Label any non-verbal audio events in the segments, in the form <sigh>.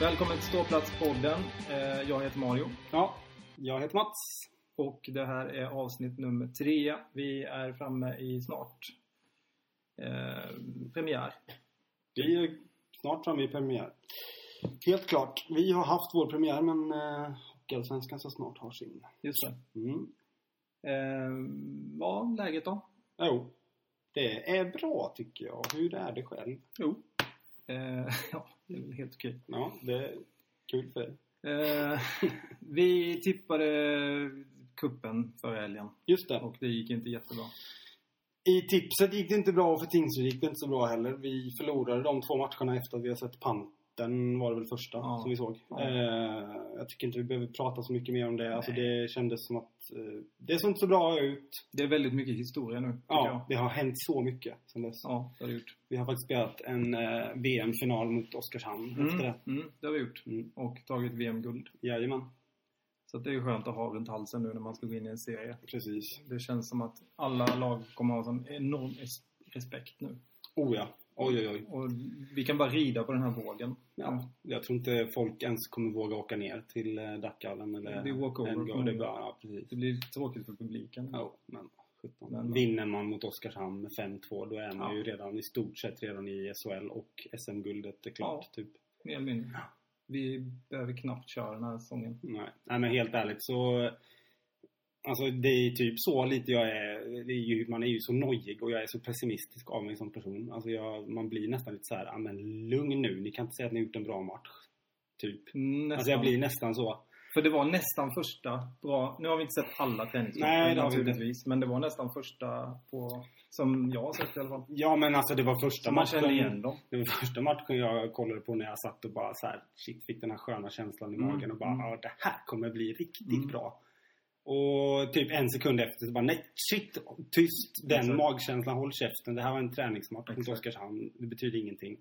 Välkommen till Ståplatspodden. Eh, Jag heter Mario Ja, jag heter Mats. och det här är avsnitt nummer tre. Vi är framme i snart eh, premiär. Vi är snart framme i premiär. Helt klart. Vi har haft vår premiär men eh, Hockeyallsvenskan så snart har sin. Just det. Mm. Eh, ja, läget då? Jo, det är bra tycker jag. Hur är det själv? Jo. Eh, <laughs> ja, det är väl helt okej. Ja, det är kul för dig. Eh, <laughs> vi tippade kuppen förra helgen Just det. och det gick inte jättebra. I tipset gick det inte bra och för Tingsryd gick det inte så bra heller. Vi förlorade de två matcherna efter att vi har sett Panten var det väl första Ja. som vi såg. Ja. Eh, jag tycker inte vi behöver prata så mycket mer om det. Alltså Nej. det kändes som att eh, det såg inte så bra ut. Det är väldigt mycket historia nu. tycker Ja, jag. det har hänt så mycket sen dess. ja det har det gjort. Vi har faktiskt spelat en eh, VM-final mot Oskarshamn efter det. Mm, det har vi gjort. Mm. Och tagit VM-guld. Jajamän, Så att det är skönt att ha runt halsen nu när man ska gå in i en serie. precis. Det känns som att alla lag kommer ha sån enorm es- respekt nu. Oh ja. Oj, oj, oj. Och vi kan bara rida på den här vågen. Ja, jag tror inte folk ens kommer våga åka ner till eh, Dackallen eller... Det är walkover Elmgård. från- Det är bara, ja, precis. Det blir tråkigt för publiken. Ja, men 17. Men- Vinner man mot Oskarshamn med 5-2 då är man Ja. ju redan i stort sett redan i SHL och SM-guldet är klart typ. Mer eller mindre. Vi behöver knappt köra den här säsongen. Nej. Nej men helt ärligt så Alltså det är typ så lite jag är, det är ju, man är ju så nojig och jag är så pessimistisk av mig som person. Alltså jag, man blir nästan lite så här, "Ah, men lugn nu, ni kan inte säga att ni har gjort en bra match. Typ. Nästan. Alltså jag blir nästan så. För det var nästan första bra... Nu har vi inte sett alla Nej, träningsmatcher det har vi inte. naturligtvis. Men det var nästan första på... Som jag har sett i alla fall. Ja men alltså det var första Som man kände igen dem. Det var första matchen jag kollade på när jag satt och bara så här, shit, fick den här sköna känslan i Mm, magen och bara, mm. ja det här kommer bli riktigt Mm. bra. Och typ en sekund efter så bara, nej shit, tyst, den Exakt. magkänslan, håll käften, det här var en träningsmatch mot Exakt. Oskarshamn, det betyder ingenting.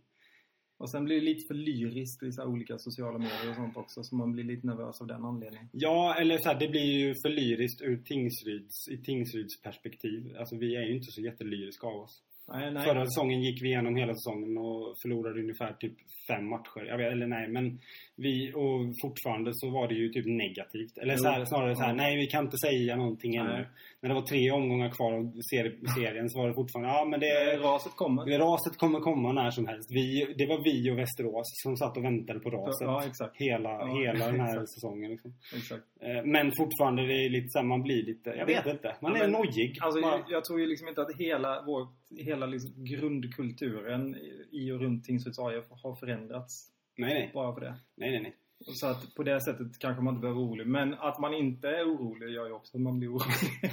Och sen blir det lite för lyriskt i så här olika sociala medier och sånt också. Så man blir lite nervös av den anledningen. Ja, eller så här, det blir ju för lyriskt ur Tingsryds, i Tingsryds perspektiv. Alltså vi är ju inte så jättelyriska av oss. Nej, nej. Förra säsongen gick vi igenom hela säsongen och förlorade ungefär typ fem matcher. Jag vet, eller nej, men vi, och fortfarande så var det ju typ negativt. Eller så här, Jo. snarare så här, Ja. nej vi kan inte säga någonting Nej. ännu. När det var tre omgångar kvar av seri- serien så var det fortfarande, ja men Eh, det, Raset kommer. det raset kommer komma när som helst. Vi, det var vi och Västerås som satt och väntade på raset. Ja, exakt. Hela, Ja, hela den här <laughs> exakt. säsongen. Liksom. exakt. Eh, Men fortfarande, det är lite så här, man blir lite, jag vet inte. Man Ja, är men- nojig. Alltså, man, jag, jag tror ju liksom inte att hela, vår, hela liksom grundkulturen i- i och runt Tingsryds AIF har förändrats nej, nej, bara för det. nej, nej, <laughs> nej. Så att på det sättet kanske man inte behöver vara orolig. Men att man inte är orolig gör ju också att man blir orolig.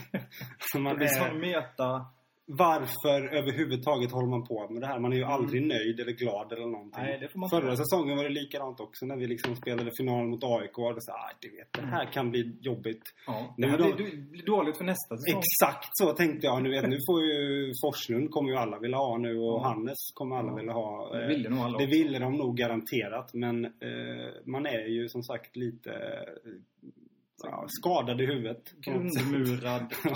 Så man <laughs> det blir är- sån meta... Varför överhuvudtaget håller man på med det här? Man är ju aldrig nöjd eller glad eller någonting. Mm. Nej, det får man Förra inte. säsongen var det likadant också när vi liksom spelade final mot AIK. Och det, så, ah, du vet, det Mm. här kan bli jobbigt. Ja, det Nu här då- blir, du- blir dåligt för nästa säsong. Exakt så tänkte jag. Nu, vet, nu får ju Forslund kommer ju alla vilja ha nu och Ja. Hannes kommer alla Mm. Ja. vilja ha. Det Eh, ville nog alla det också. ville de nog garanterat men eh, man är ju som sagt lite eh, ja, skadad i huvudet. på något sätt. <laughs> Grundmurad Ja.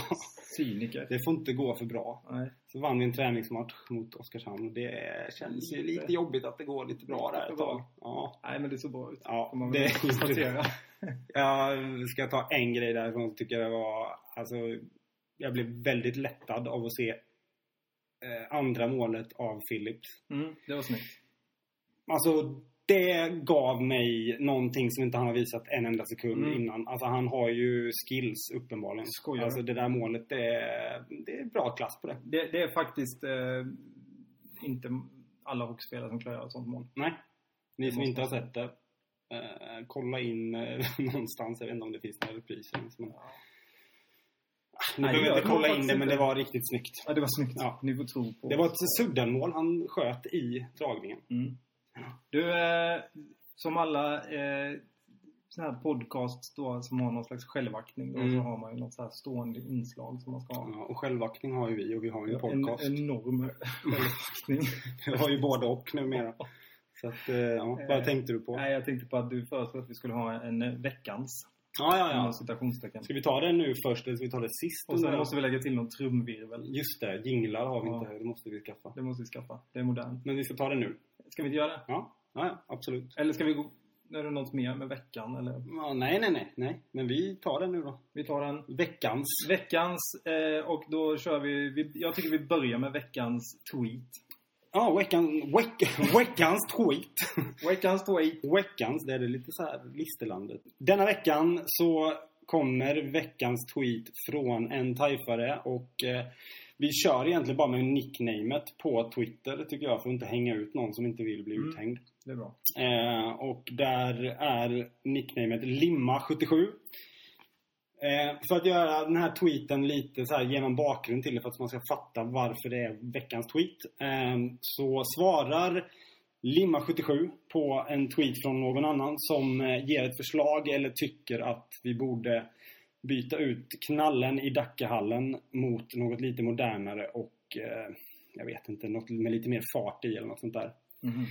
cyniker. Det får inte gå för bra. Nej. Så vann vi en träningsmatch mot Oskarshamn och det känns ju Lite. lite jobbigt att det går lite bra där ett tag. Ja. Nej, men det såg bra ut. Ja, får man det- väl <laughs> <laughs> konstatera. Jag ska ta en grej därifrån som tycker jag var... Alltså, jag blev väldigt lättad av att se eh, andra målet av Philips. Mm, det var snyggt. Alltså, det gav mig någonting som inte han har visat en enda sekund Mm. innan. Alltså, han har ju skills uppenbarligen. Skojar. Alltså, det där målet, det är, det är bra klass på det. Det, det är faktiskt eh, inte alla hockeyspelare som klarar ett sånt mål. Nej. Ni Det som måste inte har sett det, eh, kolla in eh, <laughs> någonstans. Jag vet inte om det finns några repriser. Men... Ah, Ja. Ni Nej, det behöver gör inte det kolla in faktiskt det, men inte. det var riktigt snyggt. Ja, det var snyggt. Ja. Ni får tro på Det var ett suddenmål han sköt i dragningen. Mm. Du, eh, som alla eh, såna här podcasts då, som har någon slags självaktning, då, Mm. så har man ju något så här stående inslag som man ska ha. Ja, och självaktning har ju vi och vi har ju en podcast. en enorm självaktning. <laughs> Vi har ju både och numera. Så att, eh, ja, Eh, vad tänkte du på? Ja, Nej, jag tänkte på att du föreslog att vi skulle ha en eh, veckans. ja, Inom ja. citationstecken. Ska vi ta det nu först eller ska vi ta det sist? Och sen under- måste vi lägga till någon trumvirvel. Just det, jinglar har vi Ja. inte. Det måste vi skaffa. Det måste vi skaffa. Det är modernt. Men vi ska ta det nu. Ska vi inte göra det? Ja, ja, ja absolut. Eller ska vi gå... är det något mer med veckan eller? Ja, nej, nej, nej, nej. Men vi tar den nu då. Vi tar den. Veckans. Veckans, eh, och då kör vi, vi... Jag tycker vi börjar med veckans tweet. Ja, veckan, veck, <laughs> veckans tweet. <laughs> Veckans tweet. Veckans, det är det lite så här listerlandet. Denna veckan så kommer veckans tweet från en tajfare och eh, vi kör egentligen bara med nicknamet på Twitter tycker jag för att inte hänga ut någon som inte vill bli Mm. uthängd. Det är bra. Eh, och där är nicknamet Limma77. Eh, för att göra den här tweeten lite så här, ge någon bakgrund till det för att man ska fatta varför det är veckans tweet. Eh, så svarar Limma77 på en tweet från någon annan som eh, ger ett förslag eller tycker att vi borde byta ut knallen i Dackehallen mot något lite modernare och eh, jag vet inte, något med lite mer fart i eller något sånt där. Mhm.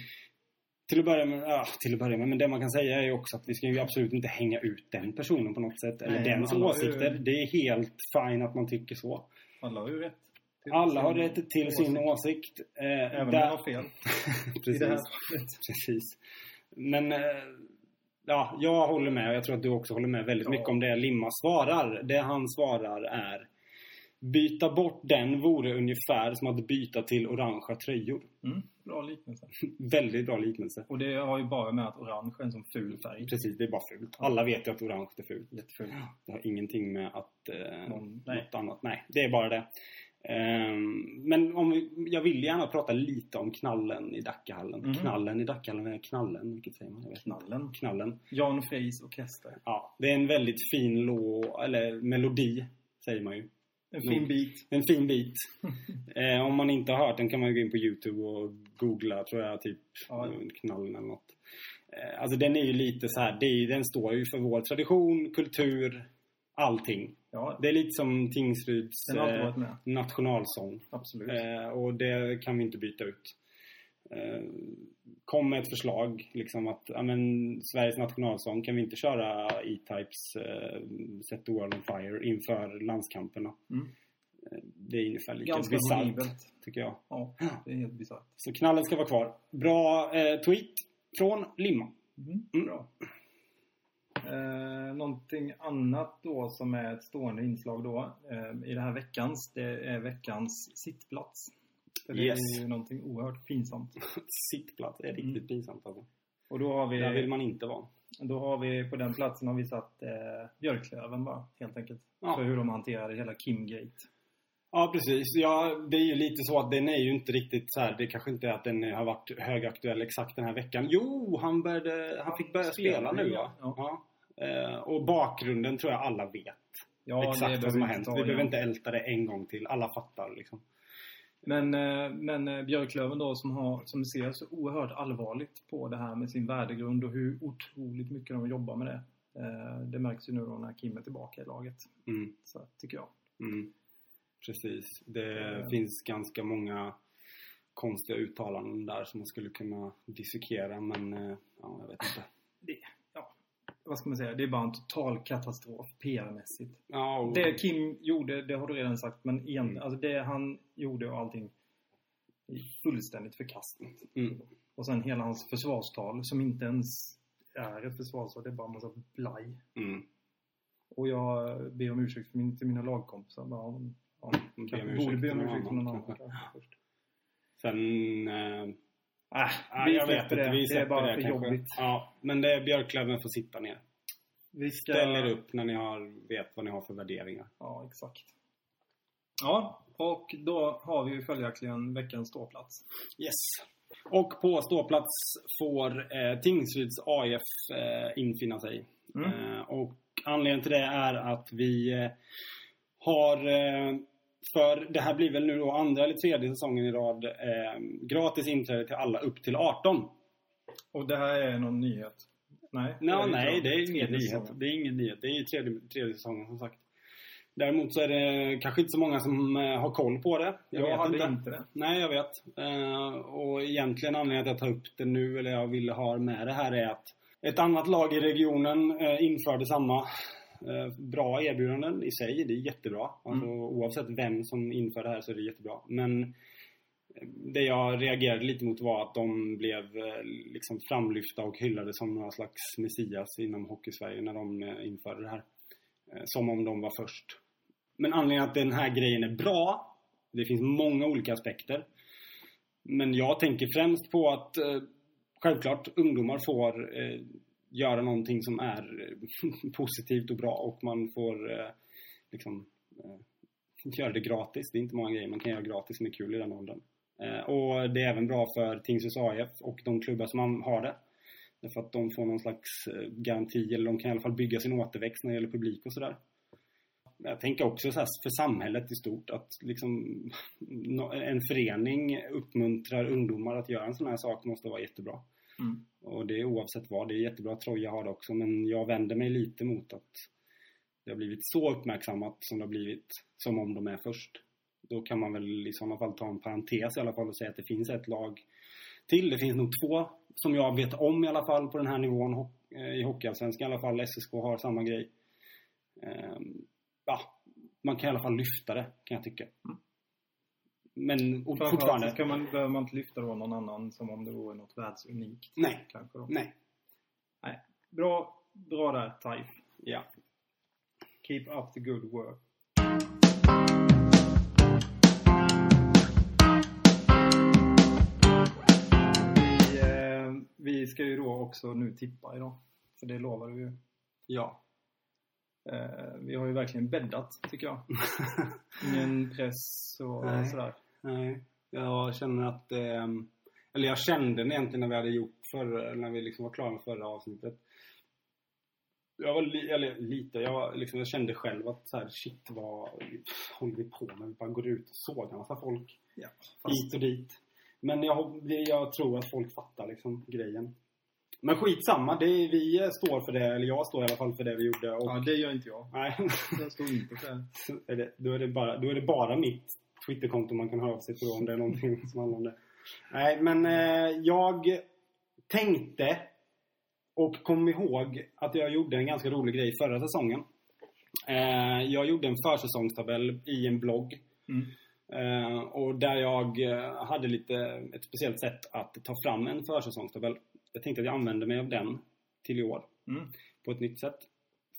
Till att, börja med, ja, till att börja med, men det man kan säga är ju också att vi ska ju absolut inte hänga ut den personen på något sätt. Eller Nej, dens alla har ju- åsikter. Det är helt fine att man tycker så. Alla har ju rätt. till Alla har sin rätt till sin åsikt. Eh, Även om där- jag har fel. I det här Precis. fallet. Precis. Men eh, ja, jag håller med och jag tror att du också håller med väldigt Ja. mycket om det Limma svarar. Det han svarar är Byta bort den vore ungefär som att byta till orangea tröjor. Mm, bra liknelse. Väldigt bra liknelse. Och det har ju bara med att orange är en sån ful färg. Precis, det är bara fult. Alla vet ju att orange är fult. Jätteful. Det har ingenting med att... Eh, Någon, nej. något annat. Nej, det är bara det. Ehm, men om vi, jag vill gärna prata lite om knallen i Dackehallen. Mm. Knallen i Dackehallen, är knallen, vilket säger man? Jag vet inte. Knallen. Knallen. Jan Freys orkester. Ja, det är en väldigt fin lå, eller melodi, säger man ju. En Mm. fin bit. En <laughs> fin bit. eh, om man inte har hört den kan man ju gå in på Youtube och googla, tror jag, typ Ja. eh, knallen eller något. Eh, alltså den är ju lite så här, det är, ju- den står ju för vår tradition, kultur, allting. Ja, Det är lite som Tingsryds den har alltid eh, varit med. nationalsång. Absolut. Eh, och det kan vi inte byta ut. Eh, kom med ett förslag, liksom att ja, men, Sveriges nationalsång kan vi inte köra E-Types eh, Set the World on Fire inför landskamperna. Mm. Eh, Det är ungefär lika Ganska bisarrt, horribelt. tycker jag. Ja, det är helt bisarrt. Så knallen ska vara kvar. Bra eh, tweet från Limma. Mm. Mm. Bra. Eh, någonting annat då som är ett stående inslag då eh, i den här veckans, det är veckans sittplats. För det Yes. är ju någonting oerhört pinsamt. Sittplats är riktigt Mm. pinsamt alltså. Och då har Där vill vi, man inte vara. då har vi på den platsen har vi satt eh, björklöven bara, helt enkelt. Ja. För hur de hanterade hela Kimgate. Ja, precis. Ja, det är ju lite så att den är ju inte riktigt så här. Det kanske inte är att den har varit högaktuell exakt den här veckan. Jo, han, började, han fick börja Spelar spela nu nu, ja. ja. ja. Eh, och bakgrunden tror jag alla vet. Ja, exakt vad behöver som har vi hänt. ta Vi behöver igen. inte älta det en gång till. Alla fattar liksom. Men, eh, men eh, Björklöven då som, har, som ser så oerhört allvarligt på det här med sin värdegrund och hur otroligt mycket de jobbar med det. Eh, Det märks ju nu då när Kim är tillbaka i laget. Mm, Så att, tycker jag. mm. Precis. Det Eh. finns ganska många konstiga uttalanden där som man skulle kunna dissekera men eh, ja, jag vet inte. Vad ska man säga? Det är bara en total katastrof PR-mässigt. Ja, och- Det Kim gjorde, det har du redan sagt, men igen, Mm. alltså det han gjorde och allting är fullständigt förkastligt. Mm. Och sen hela hans försvarstal som inte ens är ett försvarstal, det är bara en massa blaj. Mm. Och jag ber om ursäkt för min, till mina lagkompisar. Bara, om, om, Be om kanske ursäkt borde be till Mm, om någon ursäkt till annan, någon annan. <laughs> kanske. kanske först. Sen... Eh, Äh, Ja, vi jag vet släpper inte. Vi det är släpper bara det för kanske. jobbigt. Ja, men det är Björklöven får sitta ner. Vi ska... Ställ er upp när ni har, vet vad ni har för värderingar. Ja, exakt. Ja, och då har vi ju följaktligen veckans ståplats. Yes. Och på ståplats får eh, Tingsryds AIF eh, infinna sig. Mm. Eh, och anledningen till det är att vi eh, har eh, för det här blir väl nu då andra eller tredje säsongen i rad eh, gratis inträde till alla upp till 18. Och det här är någon nyhet? Nej, Nej, inte. nej, det är ingen Tredje nyhet. säsongen. Det är ingen nyhet. Det är ju tredje, tredje säsongen som sagt. Däremot så är det kanske inte så många som eh, har koll på det. Jag, hade inte, det. Nej, jag vet. Eh, och egentligen anledningen till att jag tar upp det nu, eller jag ville ha med det här, är att ett annat lag i regionen eh, införde samma eh, bra erbjudanden i sig. Det är jättebra. Alltså, Oavsett vem som inför det här så är det jättebra. Men det jag reagerade lite mot var att de blev eh, liksom framlyfta och hyllade som några slags messias inom hockeysverige när de eh, införde det här. Eh, Som om de var först. Men anledningen att den här grejen är bra, det finns många olika aspekter. Men jag tänker främst på att eh, självklart ungdomar får eh, göra någonting som är eh, <laughs> positivt och bra och man får eh, liksom eh, göra det gratis. Det är inte många grejer man kan göra gratis som är kul i den åldern. Eh, och det är även bra för Tingsryds AIF och de klubbar som man har det. Därför att de får någon slags eh, garanti, eller de kan i alla fall bygga sin återväxt när det gäller publik och sådär. Jag tänker också så här för samhället i stort att liksom <laughs> nå- en förening uppmuntrar ungdomar att göra en sån här sak måste vara jättebra. Mm. Och det är oavsett vad. Det är jättebra att Troja har det också men jag vänder mig lite mot att det har blivit så uppmärksammat som det har blivit som om de är först. Då kan man väl i sådana fall ta en parentes i alla fall och säga att det finns ett lag till. Det finns nog två som jag vet om i alla fall på den här nivån ho- eh, i Hockeyallsvenskan i alla fall. SSK har samma grej. Ehm, ja, man kan i alla fall lyfta det kan jag tycka. Mm. Men och Framförallt fortfarande. så ska man, behöver man inte lyfta då någon annan som om det vore något världsunikt. Nej. Kanske då. Nej. Bra, bra där Taif. Ja. Keep up the good work. Vi, eh, vi ska ju då också nu tippa idag. För det lovar vi ju. Ja. Eh, vi har ju verkligen bäddat, tycker <laughs> jag. Ingen press och Nej. sådär. Nej, jag känner att... ehm, Eller jag kände det egentligen när vi hade gjort för när vi liksom var klara med förra avsnittet. Jag var li, eller lite, jag, var, liksom, jag kände själv att så här, shit vad håller vi på med? Vi bara går ut och sågar massa folk Ja, hit och dit. Men jag, hop- det- jag tror att folk fattar liksom grejen. Men skitsamma, det, är- vi eh, står för det, eller jag står i alla fall för det vi gjorde. Och, Ja, det gör inte jag. Nej, <laughs> Jag står inte för det. så är det, då, är det bara, då är det bara mitt Twitterkonto man kan höra av sig på om det är någonting som handlar om det. Nej, men eh, jag tänkte och kom ihåg att jag gjorde en ganska rolig grej förra säsongen. Eh, jag gjorde en försäsongstabell i en blogg Mm. Eh, och där jag eh, hade lite ett speciellt sätt att ta fram en försäsongstabell. Jag tänkte att jag använder mig av den till i år Mm. på ett nytt sätt.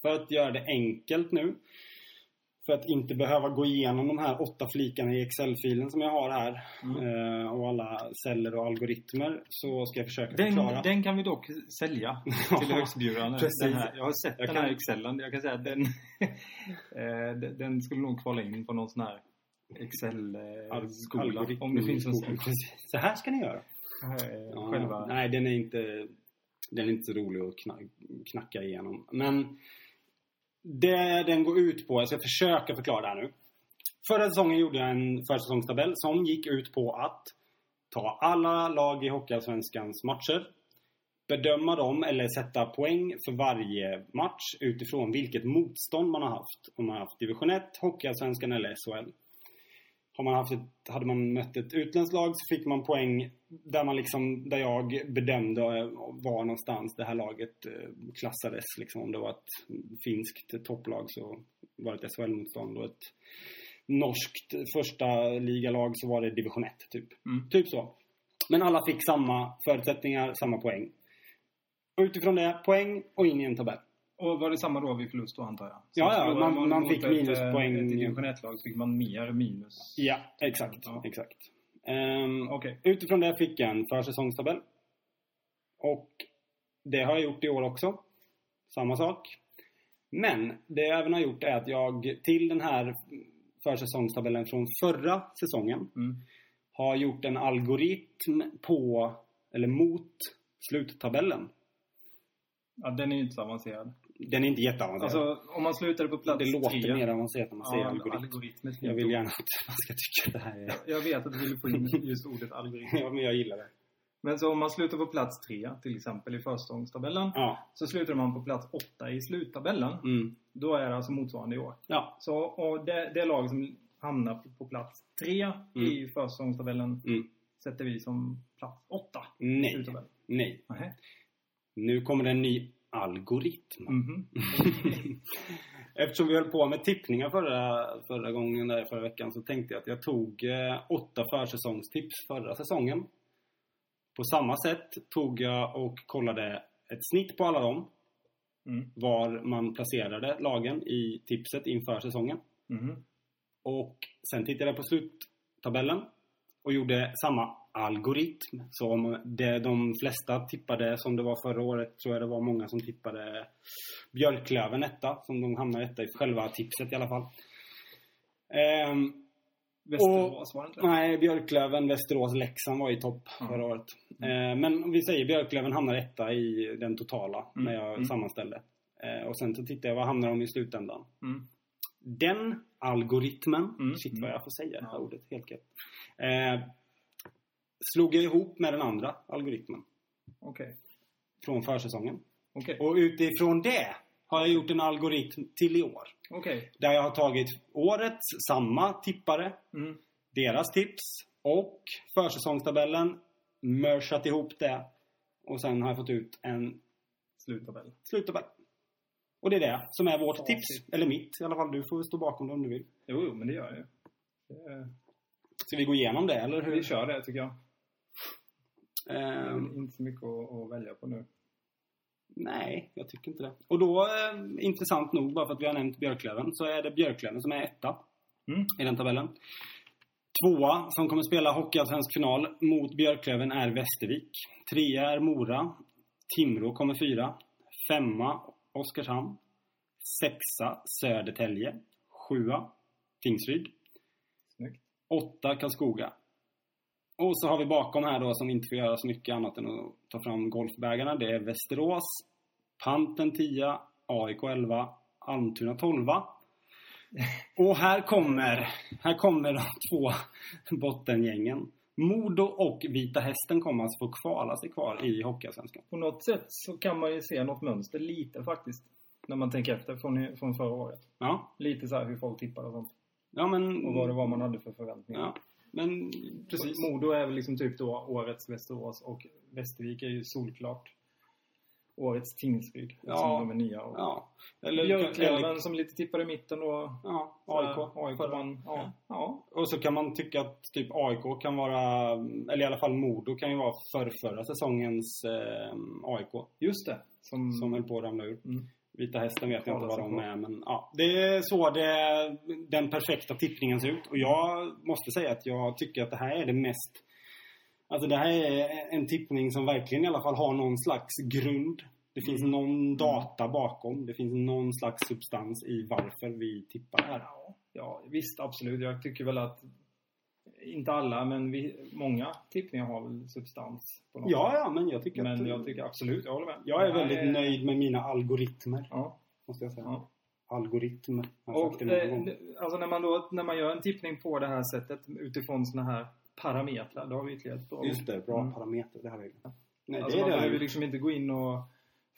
För att göra det enkelt nu. För att inte behöva gå igenom de här åtta flikarna i Excel-filen som jag har här. Mm. eh, Och alla celler och algoritmer. Så ska jag försöka förklara. Den, den kan vi dock <laughs> sälja till högstbjudande. precis. Den här. Jag har sett Jag den kan- här excellen. Jag kan säga att den, <laughs> eh, den- den skulle nog kvala in på någon sån här Alg- Excel-skola. algoritm- Om det finns en sån. skola. Precis. <laughs> Så här ska ni göra. Eh, Ja, Själva. Nej, den är inte, den är inte så rolig att kna- knacka igenom. Men det den går ut på, alltså jag ska försöka förklara det här nu. Förra säsongen gjorde jag en försäsongstabell som gick ut på att ta alla lag i Hockeyallsvenskans matcher. Bedöma dem eller sätta poäng för varje match utifrån vilket motstånd man har haft. Om man har haft division 1, Hockeyallsvenskan eller SHL. Har man haft ett, hade man mött ett utländskt lag så fick man poäng där, man liksom, där jag bedömde eh, var någonstans det här laget eh, klassades. Liksom. Om det var ett finskt topplag så var det ett SHL-motstånd och ett norskt första ligalag så var det division 1, typ. Mm. Typ så. Men alla fick samma förutsättningar, samma poäng. Och utifrån det, poäng och in i en tabell. Och var det samma då vid förlust då antar jag? Så Ja, ja, förlorade man- man mot fick ett, eh, minuspoäng. Ett division 1-lag så fick man mer minus. Ja, exakt. Ja. exakt. Ehm, Okej. Utifrån det fick jag en försäsongstabell. Och det har jag gjort i år också. Samma sak. Men det jag även har gjort är att jag till den här försäsongstabellen från förra säsongen Mm. har gjort en algoritm på, eller mot, sluttabellen. Ja, den är ju inte så avancerad. Den är inte jätteavancerad. Alltså, om man slutade på plats det låter tre. mer avancerat när man säger Ja, algoritm. algoritmet. Jag vill gärna att man ska tycka att det här är... Jag vet att du ville få in just ordet algoritm. <laughs> Ja, men jag gillar det. Men så om man slutar på plats tre, till exempel i förstångstabellen, Ja. så slutar man på plats åtta i sluttabellen. Mm. Då är det alltså motsvarande i år. Ja. Så och det, det lag som hamnar på, på plats tre i förstångstabellen Mm. sätter vi som plats åtta i Nej. sluttabellen. Nej. Nähä. Nu kommer det en ny algoritm. Mhm. <laughs> Eftersom vi höll på med tippningar förra, förra gången, där, förra veckan, så tänkte jag att jag tog eh, åtta försäsongstips förra säsongen. På samma sätt tog jag och kollade ett snitt på alla dem. Mm. Var man placerade lagen i tipset inför säsongen. Mhm. Och sen tittade jag på sluttabellen och gjorde samma algoritm som det de flesta tippade som det var förra året. Tror jag det var många som tippade Björklöven etta, som de hamnade etta i själva tipset i alla fall. Ehm, Västerås var det inte? Nej, Björklöven, Västerås, Leksand var i topp Mm. förra året. Eh, men om vi säger Björklöven hamnar etta i den totala när jag Mm. sammanställde. Eh, och sen så tittade jag, vad hamnar de i slutändan? Mm. Den algoritmen, Mm. shit vad jag får säga det här Ja. ordet, helt gött. Eh, slog jag ihop med den andra algoritmen Okej. från försäsongen. Okej. Och utifrån det har jag gjort en algoritm till i år. Okej. Där jag har tagit årets samma tippare, Mm. deras tips och försäsongstabellen, mörsat ihop det och sen har jag fått ut en Sluttabell. sluttabell. Och det är det som är vårt Facit. tips, eller mitt i alla fall. Du får stå bakom det om du vill. Jo, jo, men det gör jag ju. Det är- Ska vi gå igenom det eller hur? Vi kör det tycker jag. Det är Ehm, väl inte så mycket att, att välja på nu. Nej, jag tycker inte det. Och då, eh, intressant nog, bara för att vi har nämnt Björklöven, så är det Björklöven som är etta Mm. i den tabellen. Tvåa, som kommer spela Hockeyallsvensk final mot Björklöven, är Västervik. Trea är Mora. Timrå kommer fyra. Femma, Oskarshamn. Sexa, Södertälje. Sjua, Tingsryd. Snyggt. Åtta, Karlskoga. Och så har vi bakom här då, som inte får göra så mycket annat än att ta fram golfbägarna. Det är Västerås, Panten 10, AIK 11, Almtuna 12. Och här kommer, här kommer de två bottengängen. Modo och Vita Hästen kommer alltså få kvala sig kvar i Hockeyallsvenskan. På något sätt så kan man ju se något mönster lite faktiskt. När man tänker efter från, från förra året. Ja, Lite så här hur folk tippar och sånt. ja men... Och vad det var man hade för förväntningar. Ja, men precis. Modo är väl liksom typ då årets Västerås och Västervik är ju solklart årets Tingsryd. Ja. Som de är nya. Och Ja. Eller, eller, Björklöven som lite tippar i mitten då. ja, Så här, AIK. AIK förra- man, ja, ja. Och så kan man tycka att typ AIK kan vara, eller i alla fall Modo kan ju vara för förra säsongens eh, AIK. Just det. Som, Som höll på att ramla ur. Mm. Vita hästen vet jag inte Kvala vad sig de kvar. är men ja. Det är så det, den perfekta tippningen ser ut. Och jag måste säga att jag tycker att det här är det mest Alltså det här är en tippning som verkligen i alla fall har någon slags grund. Det finns Mm. någon data bakom. Det finns någon slags substans i varför vi tippar här. Ja, ja, visst absolut. Jag tycker väl att inte alla, men vi, många tippningar har väl substans. På något Ja, sätt. ja, men jag tycker Men att... jag tycker absolut, jag håller med. Jag är Det här väldigt nöjd med mina algoritmer, Ja, måste jag säga. ja. Algoritmer. Jag har Och sagt det någon det, gång. det- alltså när, man då, när man gör en tippning på det här sättet utifrån såna här parametrar, då har vi ytterligare ett bra Just det, bra Mm. parameter. Det här är Nej, Alltså det man är det. behöver liksom inte gå in och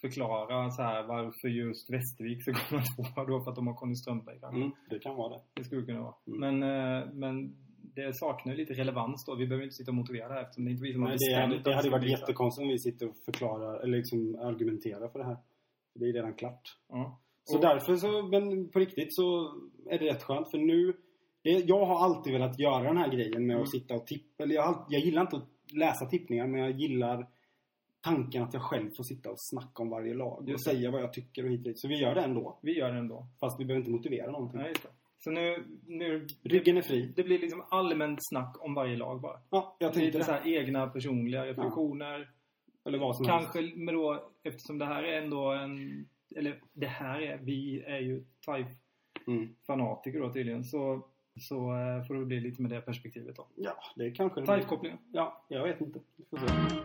förklara så här varför just Västervik ska <laughs> komma tvåa då för att de har Conny Strömberg kanske. Mm, det kan vara det. Det skulle kunna vara. Mm. Men, eh, men det saknar ju lite relevans då. Vi behöver inte sitta och motivera det här eftersom det inte är vi som har Nej, det, hade, bestämt det att hade ska varit bli så här. jättekonstigt om vi sitter och förklarar, eller liksom argumenterar för det här. Det är redan klart. Ja. Så Och- därför så, men på riktigt så är det rätt skönt för nu det- jag har alltid velat göra den här grejen med Mm. att sitta och tippa. Eller jag, har allt- jag gillar inte att läsa tippningar men jag gillar tanken att jag själv får sitta och snacka om varje lag och Just det. säga vad jag tycker och hit och dit. Så vi gör det ändå. Vi gör det ändå. Fast vi behöver inte motivera någonting. Ja, just det. Så nu, nu... Mm. Ryggen är fri. Det blir liksom allmänt snack om varje lag bara. Ja, jag tänkte Lite det. så här egna personliga reflektioner. Eller vad som helst. Kanske, men då eftersom det här är ändå en... Eller det här är... Vi är ju Taif-fanatiker Mm. då tydligen. Så, så eh, får det bli lite med det perspektivet då. Ja, det kanske det blir. Taif-kopplingen. Ja, jag vet inte. Vi får se. <laughs>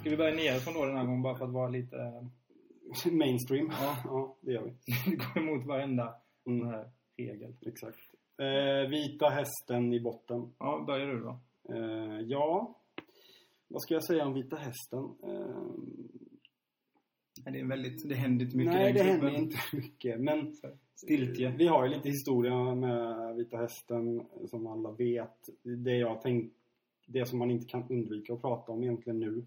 Ska vi börja nerifrån då den här gången bara för att vara lite... <laughs> eh, Mainstream. Ja. ja, det gör vi. Det går emot varenda sån Mm. här regel. Exakt. Eh, vita hästen i botten. Ja, börjar du då. Eh, ja, vad ska jag säga om Vita Hästen? Eh, Men det, är väldigt, det händer inte mycket Nej, i det den händer klubben. inte mycket. Men Så här, Stiltje. Stiltje. Vi har ju lite historia med Vita Hästen eh, som alla vet. Det jag tänkt, det som man inte kan undvika att prata om egentligen nu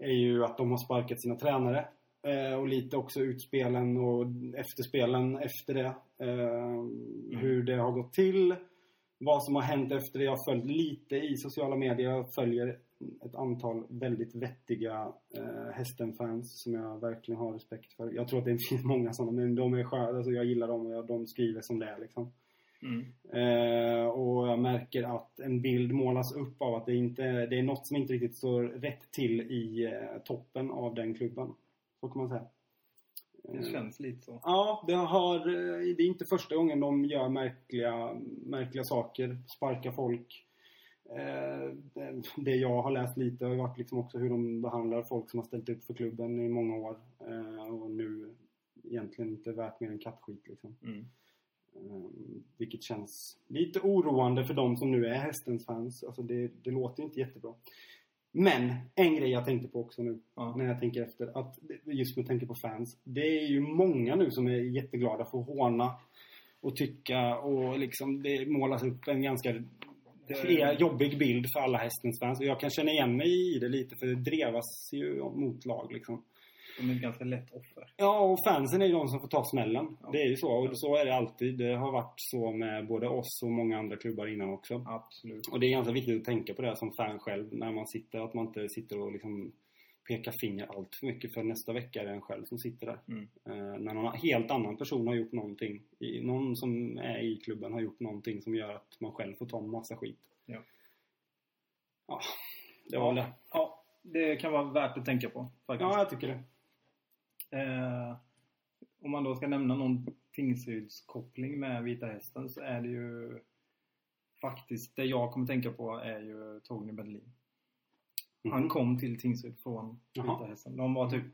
är ju att de har sparkat sina tränare eh, och lite också utspelen och efterspelen efter det. Eh, Hur det har gått till, vad som har hänt efter det. Jag har följt lite i sociala medier. Jag följer ett antal väldigt vettiga eh, hästen-fans som jag verkligen har respekt för. Jag tror att det finns <laughs> många sådana, men de är sköna. Alltså jag gillar dem och jag, de skriver som det är liksom. Mm. Eh, och jag märker att en bild målas upp av att det, inte, det är något som inte riktigt står rätt till i eh, toppen av den klubben. Så kan man säga. Det känns lite så. Ja, det, har, eh, det är inte första gången de gör märkliga, märkliga saker. Sparkar folk. Eh, det- Det jag har läst lite har ju varit liksom också hur de behandlar folk som har ställt upp för klubben i många år. eh, Och nu egentligen inte värt mer än kattskit liksom. Mm. Eh, Vilket känns lite oroande för de som nu är hästens fans. Alltså det, det låter ju inte jättebra. Men en grej jag tänkte på också nu Ja. när jag tänker efter. Att just med tanke på fans. Det är ju många nu som är jätteglada för att håna och tycka och liksom det målas upp en ganska fre- jobbig bild för alla hästens fans. Och jag kan känna igen mig i det lite för det drevas ju mot lag liksom. De är ett ganska lätt offer. Ja, och fansen är ju de som får ta smällen. Ja. Det är ju så. Och så är det alltid. Det har varit så med både oss och många andra klubbar innan också. Absolut. Och det är ganska viktigt att tänka på det här som fan själv när man sitter, att man inte sitter och liksom pekar finger allt för mycket för nästa vecka är det en själv som sitter där. Mm. Eh, när någon helt annan person har gjort någonting, i, någon som är i klubben har gjort någonting som gör att man själv får ta en massa skit. Ja. Ja, det var väl det. Ja, det kan vara värt att tänka på. Faktiskt. Ja, jag tycker det. Eh, om man då ska nämna någon Tingsrydskoppling med Vita Hästen så är det ju faktiskt, det jag kommer tänka på är ju Tony Berlin. Han Mhm. kom till Tingsryd från Jaha. Vita Hästen. De var typ,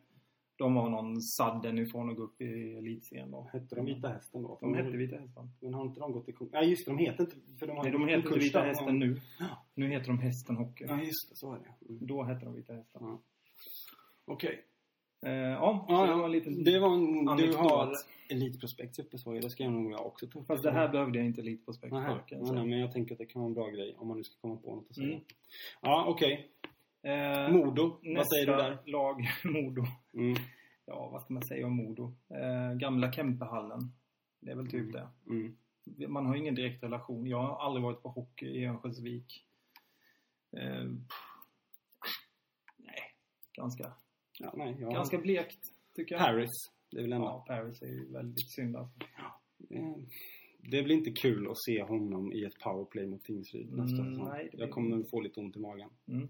de var någon sadden ifrån och gå upp i elitserien då. Hette de Vita Hästen då? De hette Vita Hästen. Men har inte de gått i konkurs? Ja, just det, de heter inte... För de har Nej, de gått i heter inte konkurs Vita där. Hästen nu. Ja. Nu heter de Hästen Hockey. Ja, just det. Så är det. Mm. Då hette de Vita Hästen. Ja. Okej. Eh, ja, så Ja, det var en liten... det var en, du anekdot. har Elitprospekt uppe så det ska jag nog också ta upp. Fast det här behövde jag inte lite på spekt Nähä, för, kan jag Mm. nej, säga. nej, men jag tänker att det kan vara en bra grej om man nu ska komma på något att säga. Mm. Ja, okej. Eh, Modo, vad Nästa säger du där? lag, <laughs> Modo. Mm. Ja, vad ska man säga om Modo? Eh, gamla Kempehallen. Det är väl typ det. Mm. Man har ingen direkt relation. Jag har aldrig varit på hockey i Örnsköldsvik. Eh, pff, nej, ganska, Ja, nej, jag... ganska blekt tycker jag. Paris, det är väl ändå... Ja, Paris är ju väldigt synd alltså. Eh, Det blir inte kul att se honom i ett powerplay mot Tingsryd nästa Mm, säsong. nej, det blir Jag kommer få lite ont i magen. Mm.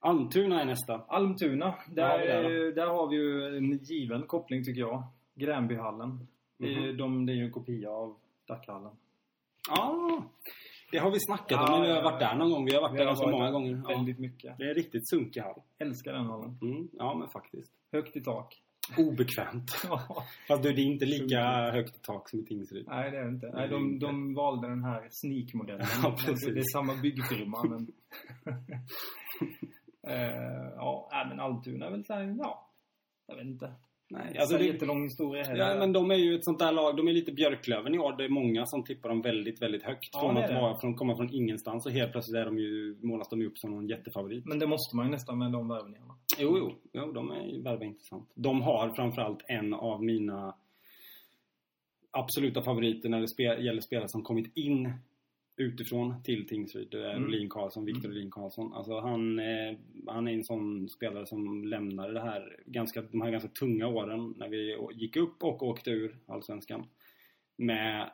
Almtuna är nästa. Almtuna, har där, vi det då? eh, där har vi ju en given koppling tycker jag. Gränbyhallen. Det är Mhm. ju- de, det är ju en kopia av Dackehallen. Ja, det har vi snackat om Ja, när vi har ja, varit ja. där någon gång. Vi har varit Vi där har så varit många där gånger. Ja. Väldigt mycket. Det är en riktigt sunkig hall. Älskar den hallen. Mm, ja, men faktiskt. Högt i tak. <laughs> Obekvämt. Ja. Fast du, det är inte lika Sunkigt. högt i tak som i Tingsryd. Nej, det är det inte. Nej, det är de, inte. de valde den här sneakmodellen. Ja, precis. Det är samma byggfirma. Men... <laughs> Eh, ja, nej, men Almtuna är väl så här, ja. Jag vet inte. Nej, Alltså, alltså det... det, Jättelång historia heller. ja, men de är ju ett sånt där lag. De är lite Björklöven i år. Det är många som tippar dem väldigt, väldigt högt. Ja, från det att är det. vara, från, komma från ingenstans och helt plötsligt är de ju, målas de ju upp som någon jättefavorit. Men det måste man ju nästan med de värvningarna. Jo, jo. jo de är ju värva intressant. De har framförallt en av mina absoluta favoriter när det spe, gäller spelare som kommit in utifrån till Tingsryd. Det är Mm. Olin Karlsson, Viktor Olin Karlsson. Alltså han, eh, han är en sån spelare som lämnade det här ganska, de här ganska tunga åren när vi å- gick upp och åkte ur Allsvenskan. Med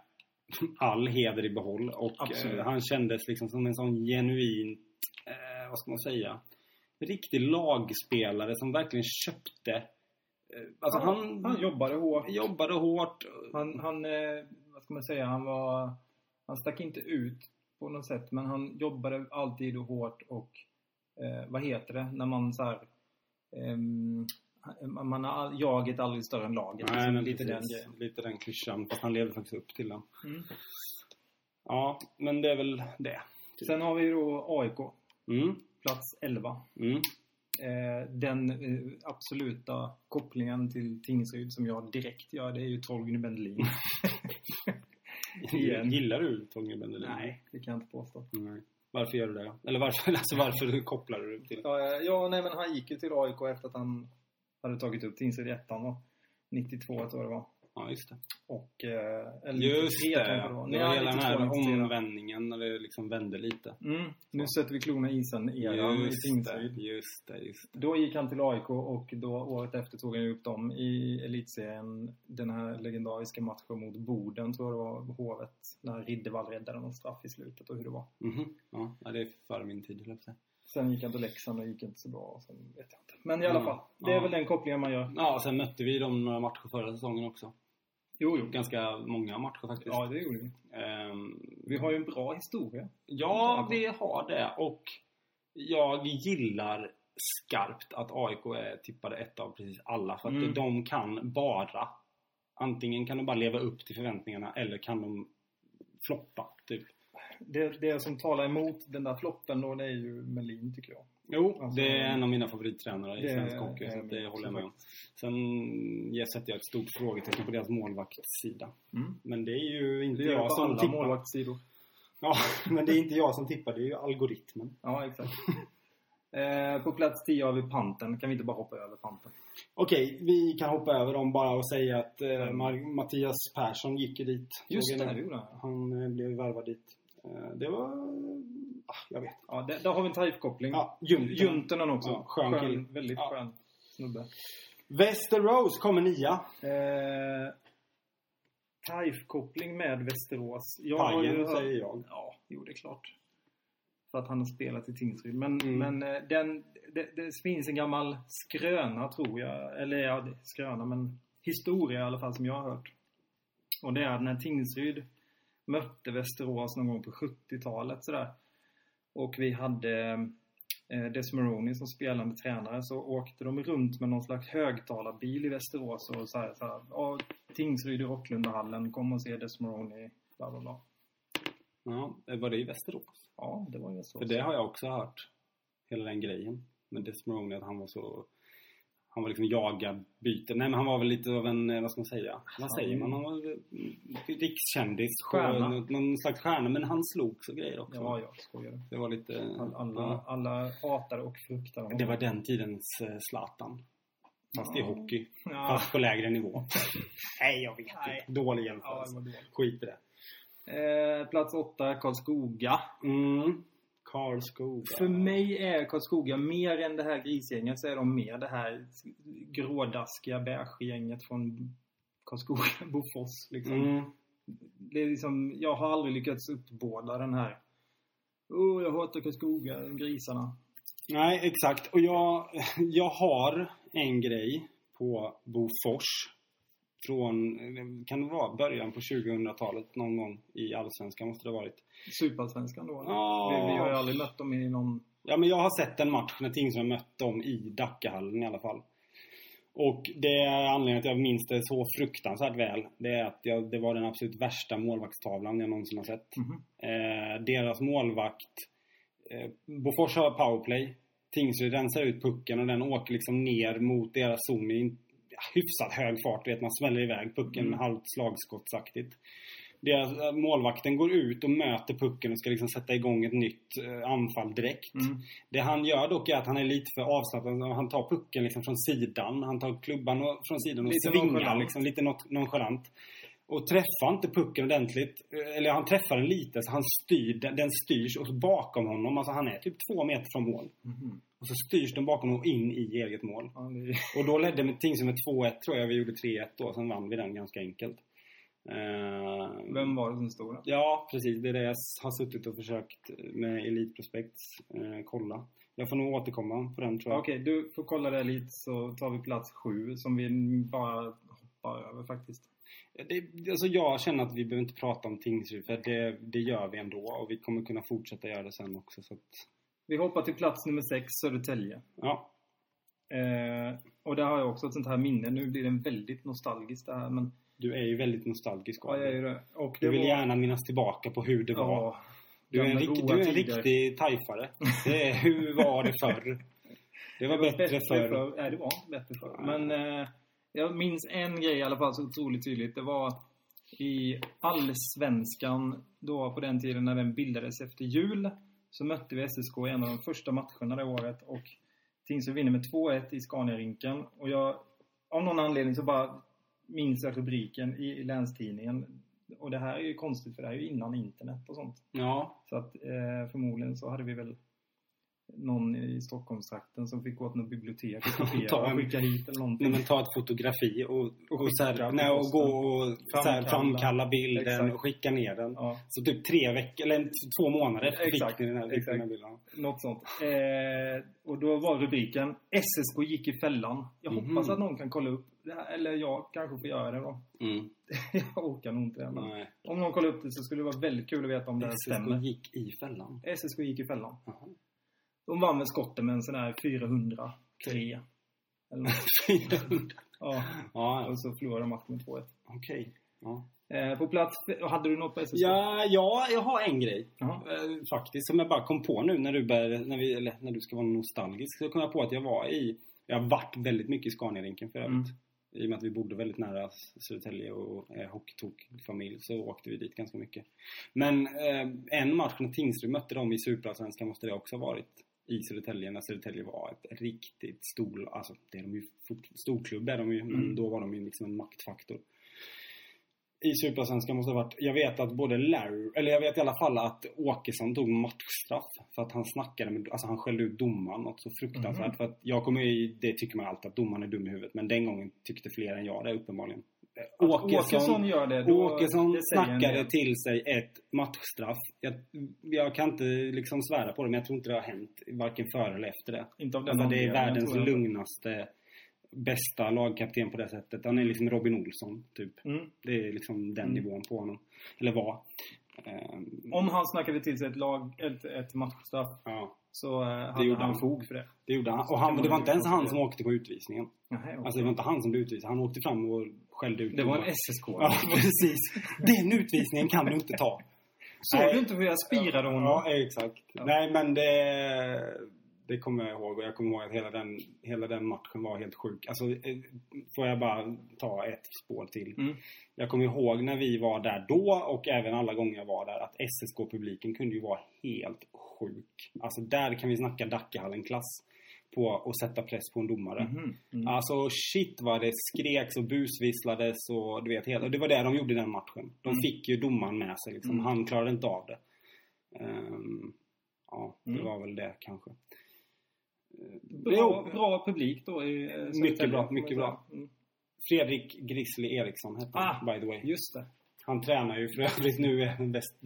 all heder i behåll och Absolut. eh, han kändes liksom som en sån genuin, eh, vad ska man säga, riktig lagspelare som verkligen köpte. eh, Alltså han, han jobbade hårt. jobbade hårt. Han, han eh, vad ska man säga, han var... Han stack inte ut på något sätt, men han jobbade alltid och hårt och... Eh, vad heter det? När man så här... ehm, man man har all, jaget aldrig större än laget. Nej, liksom, men lite lite den precis, grejen. den lite den klyschan. Fast han lever faktiskt upp till den. Mm. Ja, men det är väl det. Sen har vi ju då AIK, Mm, plats 11. mm. eh, den eh, absoluta kopplingen till Tingsryd som jag direkt gör, det är ju Torgny Bendelin. Igen. Gillar du Torgny Bendelin? Nej, det kan jag inte påstå. Nej. Varför gör du det? Eller varför, <laughs> alltså varför kopplar du det till det? Ja, eh, ja, nej men han gick ju till AIK efter att han hade tagit upp Tingsryd i ettan då. 92 tror jag det var. Ja, just det. Och... Eh, eller Just 93 det, tror jag det var. ja. Det var Nej, hela den 92, här 93. omvändningen när det liksom vände lite. Mm, nu sätter vi klorna i isen eran i Just det, Tingsryd. just det, just det. Då gick han till AIK och då året efter tog han ju upp dem i elitserien. Den här legendariska matchen mot Boden tror jag det var, Hovet. När Riddervall räddade någon straff i slutet och hur det var. Mhm. Ja, ja, det är före min tid, höll jag på att säga. Sen gick han till Leksand och gick inte så bra. och Sen vet jag inte. Men i alla Mm. fall, det är Ja. väl den kopplingen man gör. Ja, sen mötte vi dem några matcher förra säsongen också. Jo, jo. Ganska många matcher faktiskt. Ja, det gjorde vi. Ehm, Vi har ju en bra historia. Ja, vi har det. Och jag gillar skarpt att AIK är tippade ett av precis alla. För att Mm. de kan bara... Antingen kan de bara leva upp till förväntningarna eller kan de floppa, typ. Det, det som talar emot den där floppen då, det är ju Melin tycker jag. Jo, Alltså, det är en av mina favorittränare det i svensk är- hockey, så är att det min håller jag med om. Sen jag sätter jag ett stort frågetecken på deras målvaktssida. Mm. Men det är ju inte Det gör jag på som alla tippar. målvaktssidor. Ja, <laughs> men det är inte jag som tippar, det är ju algoritmen. Ja, <laughs> exakt. eh, på plats 10 har vi Panten. Kan vi inte bara hoppa över Panten? Okej, vi kan hoppa över dem bara och säga att eh, Mm. Mar- Mattias Persson gick ju dit. Just Såg det, jag det nu. gjorde han. Han eh, blev värvad dit. Eh, det var... Ah, jag vet. Ja, där, där har vi en typkoppling. Ja, Junten. Juntunen också. Ja, skön kille. Väldigt Ja. skön snubbe. Västerås kommer nia. Eh, TIFE-koppling med Västerås. Jag har ju Pajen, hört- säger jag. Ja, jo det är klart. För att han har spelat i Tingsryd. Men, Mm. men eh, den, det, det finns en gammal skröna tror jag. Eller ja, det- skröna men historia i alla fall som jag har hört. Och det är att när Tingsryd mötte Västerås någon gång på 70-talet sådär. Och vi hade eh, Desmeroni som spelande tränare så åkte de runt med någon slags högtalarbil i Västerås och så här, så här "Ja, Tingsryd i Rocklundahallen, kom och se Desmeroni, bla bla bla. Ja, eh, var det i Västerås? Ja, det var ju så. För det har jag också hört. Hela den grejen. Med Desmoroni, att han var så... Han var liksom jagad byte. Nej, men han var väl lite av en, eh, vad ska man säga? Vad säger man? Han var väl, mm, rikskändis. på Stjärna. något- Någon slags stjärna. Men han slog så grejer också. Ja, jag skojar. Det var lite... All, alla, ja. alla hatade och fruktade honom. Det var den tidens eh, Zlatan. Fast i Ja. hockey. <laughs> Ja, Fast på <laughs> lägre nivå. Nej, jag vet Nej. inte. Dålig ja, det jämförelse. var dåligt. Skit i det. Eh, plats åtta, Karlskoga. Mm. Karlskoga. För mig är Karlskoga mer än det här grisgänget så är de mer det här grådaskiga beige-gänget från Karlskoga, <laughs> Bofors. Liksom. Mm. Det är liksom, jag har aldrig lyckats uppbåda den här Åh, jag hatar Karlskoga, grisarna. Nej, exakt. Och jag, <laughs> jag har en grej på Bofors. Från, kan det vara början på 2000-talet någon gång i Allsvenskan måste det ha varit. Superallsvenskan då. eller? Ja. Vi, vi har ju aldrig mött dem i någon... Ja, men jag har sett en match när Tingsryd mött dem i Dackehallen i alla fall. Och det är anledningen till att jag minns det så fruktansvärt väl. Det är att jag, det var den absolut värsta målvaktstavlan jag någonsin har sett. Mhm. Eh, deras målvakt... Eh, Bofors har powerplay. Tingsryd rensar ut pucken och den åker liksom ner mot deras zon i en- ja, hyfsat hög fart. Du vet, man sväller iväg pucken Mm. med halvt slagskottsaktigt. Deras, eh, målvakten går ut och möter pucken och ska liksom sätta igång ett nytt eh, anfall direkt. Mm. Det han gör dock är att han är lite för avslappnad. Han tar pucken liksom från sidan. Han tar klubban och- från sidan och Lite svingar nonchalant. liksom. Lite not- nonchalant. Och träffar inte pucken ordentligt. Eh, Eller han träffar den lite så han styr, den den styrs och bakom honom. Alltså han är typ två meter från mål. Mhm. Och så styrs den bakom honom och in i eget mål. Ja, det är... Och då ledde med Tingsryd med 2-1 tror jag. Vi gjorde 3-1 då. Sen vann vi den ganska enkelt. Eh, Vem var det som stod där? Ja, precis. Det är det jag s- har suttit och försökt eh, med Elite Prospects eh, kolla. Jag får nog återkomma på den tror Ja, jag. Okej, du får kolla det lite så tar vi plats sju som vi bara hoppar över faktiskt. Det, alltså jag känner att vi behöver inte prata om Tingsryd för det, det gör vi ändå och vi kommer kunna fortsätta göra det sen också. Så att, Vi hoppar till plats nummer sex, Södertälje. ja. Eh, och där har jag också ett sånt här minne. Nu blir den väldigt nostalgisk det här men... Du är ju väldigt nostalgisk Ja, av jag är dig. ju det. Och det Du vill var- gärna minnas tillbaka på hur det var. Ja, Du är en, gamla rik, goa du är en tider. <laughs> riktig tajfare. Det är, hur var det förr? Det var, bättre, förr. Nej, det var inte bättre förr. Men eh, jag minns en grej i alla fall så otroligt tydligt. Det var i Allsvenskan då på den tiden när den bildades efter jul. Så mötte vi SSK i en av de första matcherna det året och Tingsryd vinner med 2-1 i Scaniarinken. Och jag, av någon anledning så bara minns jag rubriken i, i Länstidningen. Och det här är ju konstigt för det här är ju innan internet och sånt. Ja, Så att eh, förmodligen så hade vi väl någon i Stockholmstrakten som fick gå till något bibliotek och <laughs> kopiera och skicka hit eller när någonting. man tar ett fotografi och, och, så här, skicka nej, och posten. gå och framkalla, så här, Framkalla. framkalla bilden Exakt. och skicka ner den. Ja, Så typ tre veckor, eller två månader efter Exakt, fick ni den här, fick ni den här exakt. bilden. något sånt. Eh, och då var rubriken SSK gick i fällan. Jag Mhm. hoppas att någon kan kolla upp det här, eller jag kanske får göra det då. <laughs> Mm. jag orkar nog inte det. men Nej. Om någon kollar upp det så skulle det vara väldigt kul att veta om det här SSK stämmer. gick i fällan. SSK gick i fällan. Jaha. De vann med skotten med en sån här 403. Eller något. ja. <laughs> <laughs> ja, Och så förlorade de matchen med 2-1. okej. Ja. Eh, på plats... Hade du något på SSK? Ja, ja, jag har en grej. Jaha. Eh, faktiskt, som jag bara kom på nu när du, började, när, vi, eller, när du ska vara nostalgisk. Så kom jag på att jag var i, jag har varit väldigt mycket i Scaniarinken för övrigt. I och med att vi bodde väldigt nära Södertälje och eh, hockeytokfamilj så åkte vi dit ganska mycket. Men eh, en match när Tingsryd mötte dem i Superallsvenskan måste det också ha varit i Södertälje när Södertälje var ett riktigt stor, alltså det är de ju, fort- storklubb är de ju, men Mm. då var de ju liksom en maktfaktor i Superallsvenskan måste ha varit... Jag vet att både Larry... Eller jag vet i alla fall att Åkesson tog matchstraff för att han snackade med... Alltså han skällde ut domaren något så fruktansvärt. Mhm. För att jag kommer ju... Det tycker man alltid att domaren är dum i huvudet. Men den gången tyckte fler än jag det uppenbarligen. Att Åkesson- Åkesson gör det. Då, Åkesson det säger en del. snackade till sig ett matchstraff. Jag, jag kan inte liksom svära på det men jag tror inte det har hänt. Varken före eller efter det. Inte av den Alltså det är anledningen, världens tror jag. lugnaste, bästa lagkapten på det sättet. Han är liksom Robin Olsson typ. Mm. Det är liksom den Mm. nivån på honom. Eller var. Ehm, Om han snackade till sig ett, lag, ett, ett matchstraff ja, så eh, hade gjorde han han. fog för det. det gjorde han. Så Och kan han, man det var ju inte ens han konstatera. som åkte på utvisningen. Nähä, okej. Alltså det var inte han som blev utvisad. Han åkte fram och skällde ut det var en domaren. SSK. Ja, <laughs> precis. Den utvisningen kan du inte ta. Såg du inte hur jag spirade honom? Ja, exakt. Ja. Nej, men det... Det kommer jag ihåg och jag kommer ihåg att hela den, hela den matchen var helt sjuk. Alltså, eh, får jag bara ta ett spår till? Mm. Jag kommer ihåg när vi var där då och även alla gånger jag var där att SSK-publiken kunde ju vara helt sjuk. Alltså där kan vi snacka Dackehallen-klass på att sätta press på en domare. Mhm. Mm. Alltså shit vad det skreks och busvisslades och du vet hela. och Det var det de gjorde i den matchen. De Mm. fick ju domaren med sig liksom. Mm. Han klarade inte av det. Ehm, ja, det Mm. var väl det kanske. Bra, Jo. bra publik då i eh, Södertälje, Mycket bra, får man mycket säga. bra. Mm. Fredrik Grizzly Eriksson hette Ah. han, by the way. Just det. Han tränar ju för övrigt nu <laughs> är den bäst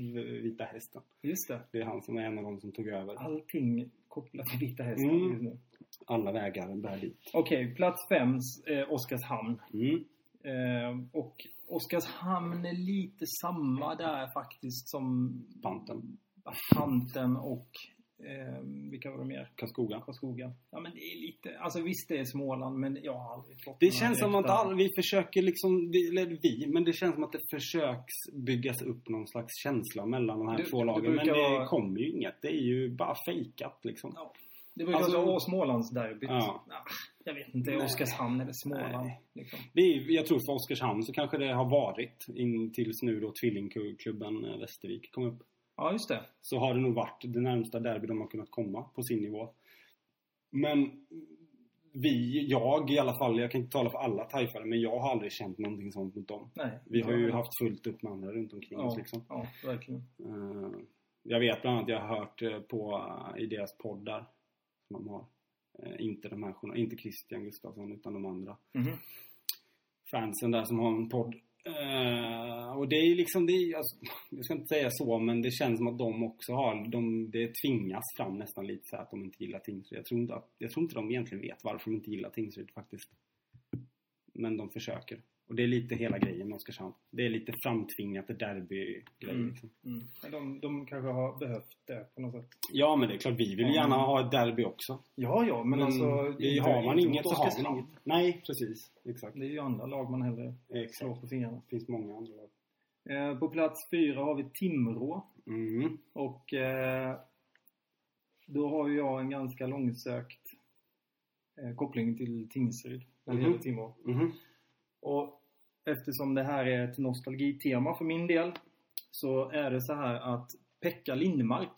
vita hästen. Just det. Det är han som är en av dem som tog över. Ah. Allting kopplat till Vita Hästen Mm. just nu. Alla vägar bär dit. Okej, plats fem, eh, Oskarshamn. Mm. Eh, och Oskarshamn är lite samma där faktiskt som Panten. Panten och eh, vilka var det mer? Karlskoga. Karlskoga. Ja men det är lite, alltså visst det är Småland men jag har aldrig fått Det några känns som att direkta- all, vi försöker liksom, vi- eller vi, men det känns som att det försöks byggas upp någon slags känsla mellan de här Det- två det lagen. Men brukar det vara- kommer ju inget. Det är ju bara fejkat liksom. Ja. Det var ju Alltså- alltså, åh Smålandsderbyt. Ja. Ah, jag vet inte, Nej. Oskarshamn eller Småland. Nej. Liksom. Det är, ju- jag tror för Oskarshamn så kanske det har varit, in tills nu då tvillingklubben eh, Västervik kom upp. Ja just det. Så har det nog varit det närmsta derby de har kunnat komma på sin nivå. Men vi, jag i alla fall, jag kan inte tala för alla taifare, men jag har aldrig känt någonting sånt mot dem. Nej. Vi har ju Ja, haft fullt upp med andra runt omkring oss ja, liksom. ja, verkligen. Eh, Jag vet bland annat, jag har hört eh, på, eh, i deras poddar som de har. eh, Inte de här, journal- inte Christian Gustafsson utan de andra Mhm. fansen där som har en podd. Eh, och det är liksom, det är, alltså, jag ska inte säga så men det känns som att de också har, de, det tvingas fram nästan lite så här att de inte gillar Tingsryd. Jag tror inte, att, jag tror inte de egentligen vet varför de inte gillar Tingsryd faktiskt. Men de försöker. Och det är lite hela grejen med Oskarshamn. Det är lite framtvingat derbygrej Mm. liksom. Mm. Men De, de kanske har behövt det på något sätt. Ja, men det är klart. Vi vill Ja, gärna men- ha ett derby också. Ja, ja, men Men alltså... Mm. det inte- har man inte inget mot så har man Oskarshamn. inget. Nej, precis. Exakt. Det är ju andra lag man hellre slår Exakt. på fingrarna. Det finns många andra lag. Eh, på plats fyra har vi Timrå. Mm. Och eh, då har ju jag en ganska långsökt eh, kopplingen till Tingsryd när det Mhm. gäller Timrå. Mhm. Och eftersom det här är ett nostalgitema för min del så är det så här att Pekka Lindmark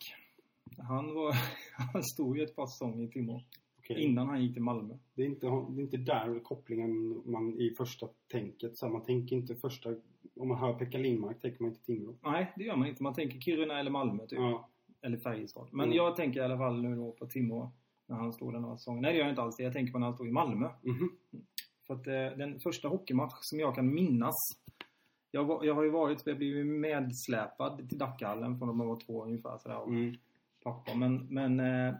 han, var, <laughs> han stod ju ett par säsonger i Timrå Okej. innan han gick till Malmö. Det är, inte, det är inte där kopplingen man i första tänket. Så här, man tänker inte första... Om man hör Pekka Lindmark tänker man inte Timrå. Nej, det gör man inte. Man tänker Kiruna eller Malmö typ. Ja. Eller Färjestad. Men Mm. jag tänker i alla fall nu då på Timrå när han stod den här säsongen. Nej, det gör jag inte alls. Jag tänker på när han stod i Malmö. Mhm. För att eh, den första hockeymatch som jag kan minnas. Jag, var, jag har ju varit, jag blev ju medsläpad till Dackehallen från när man var två ungefär sådär. Och Mm. pappa. Men, men eh,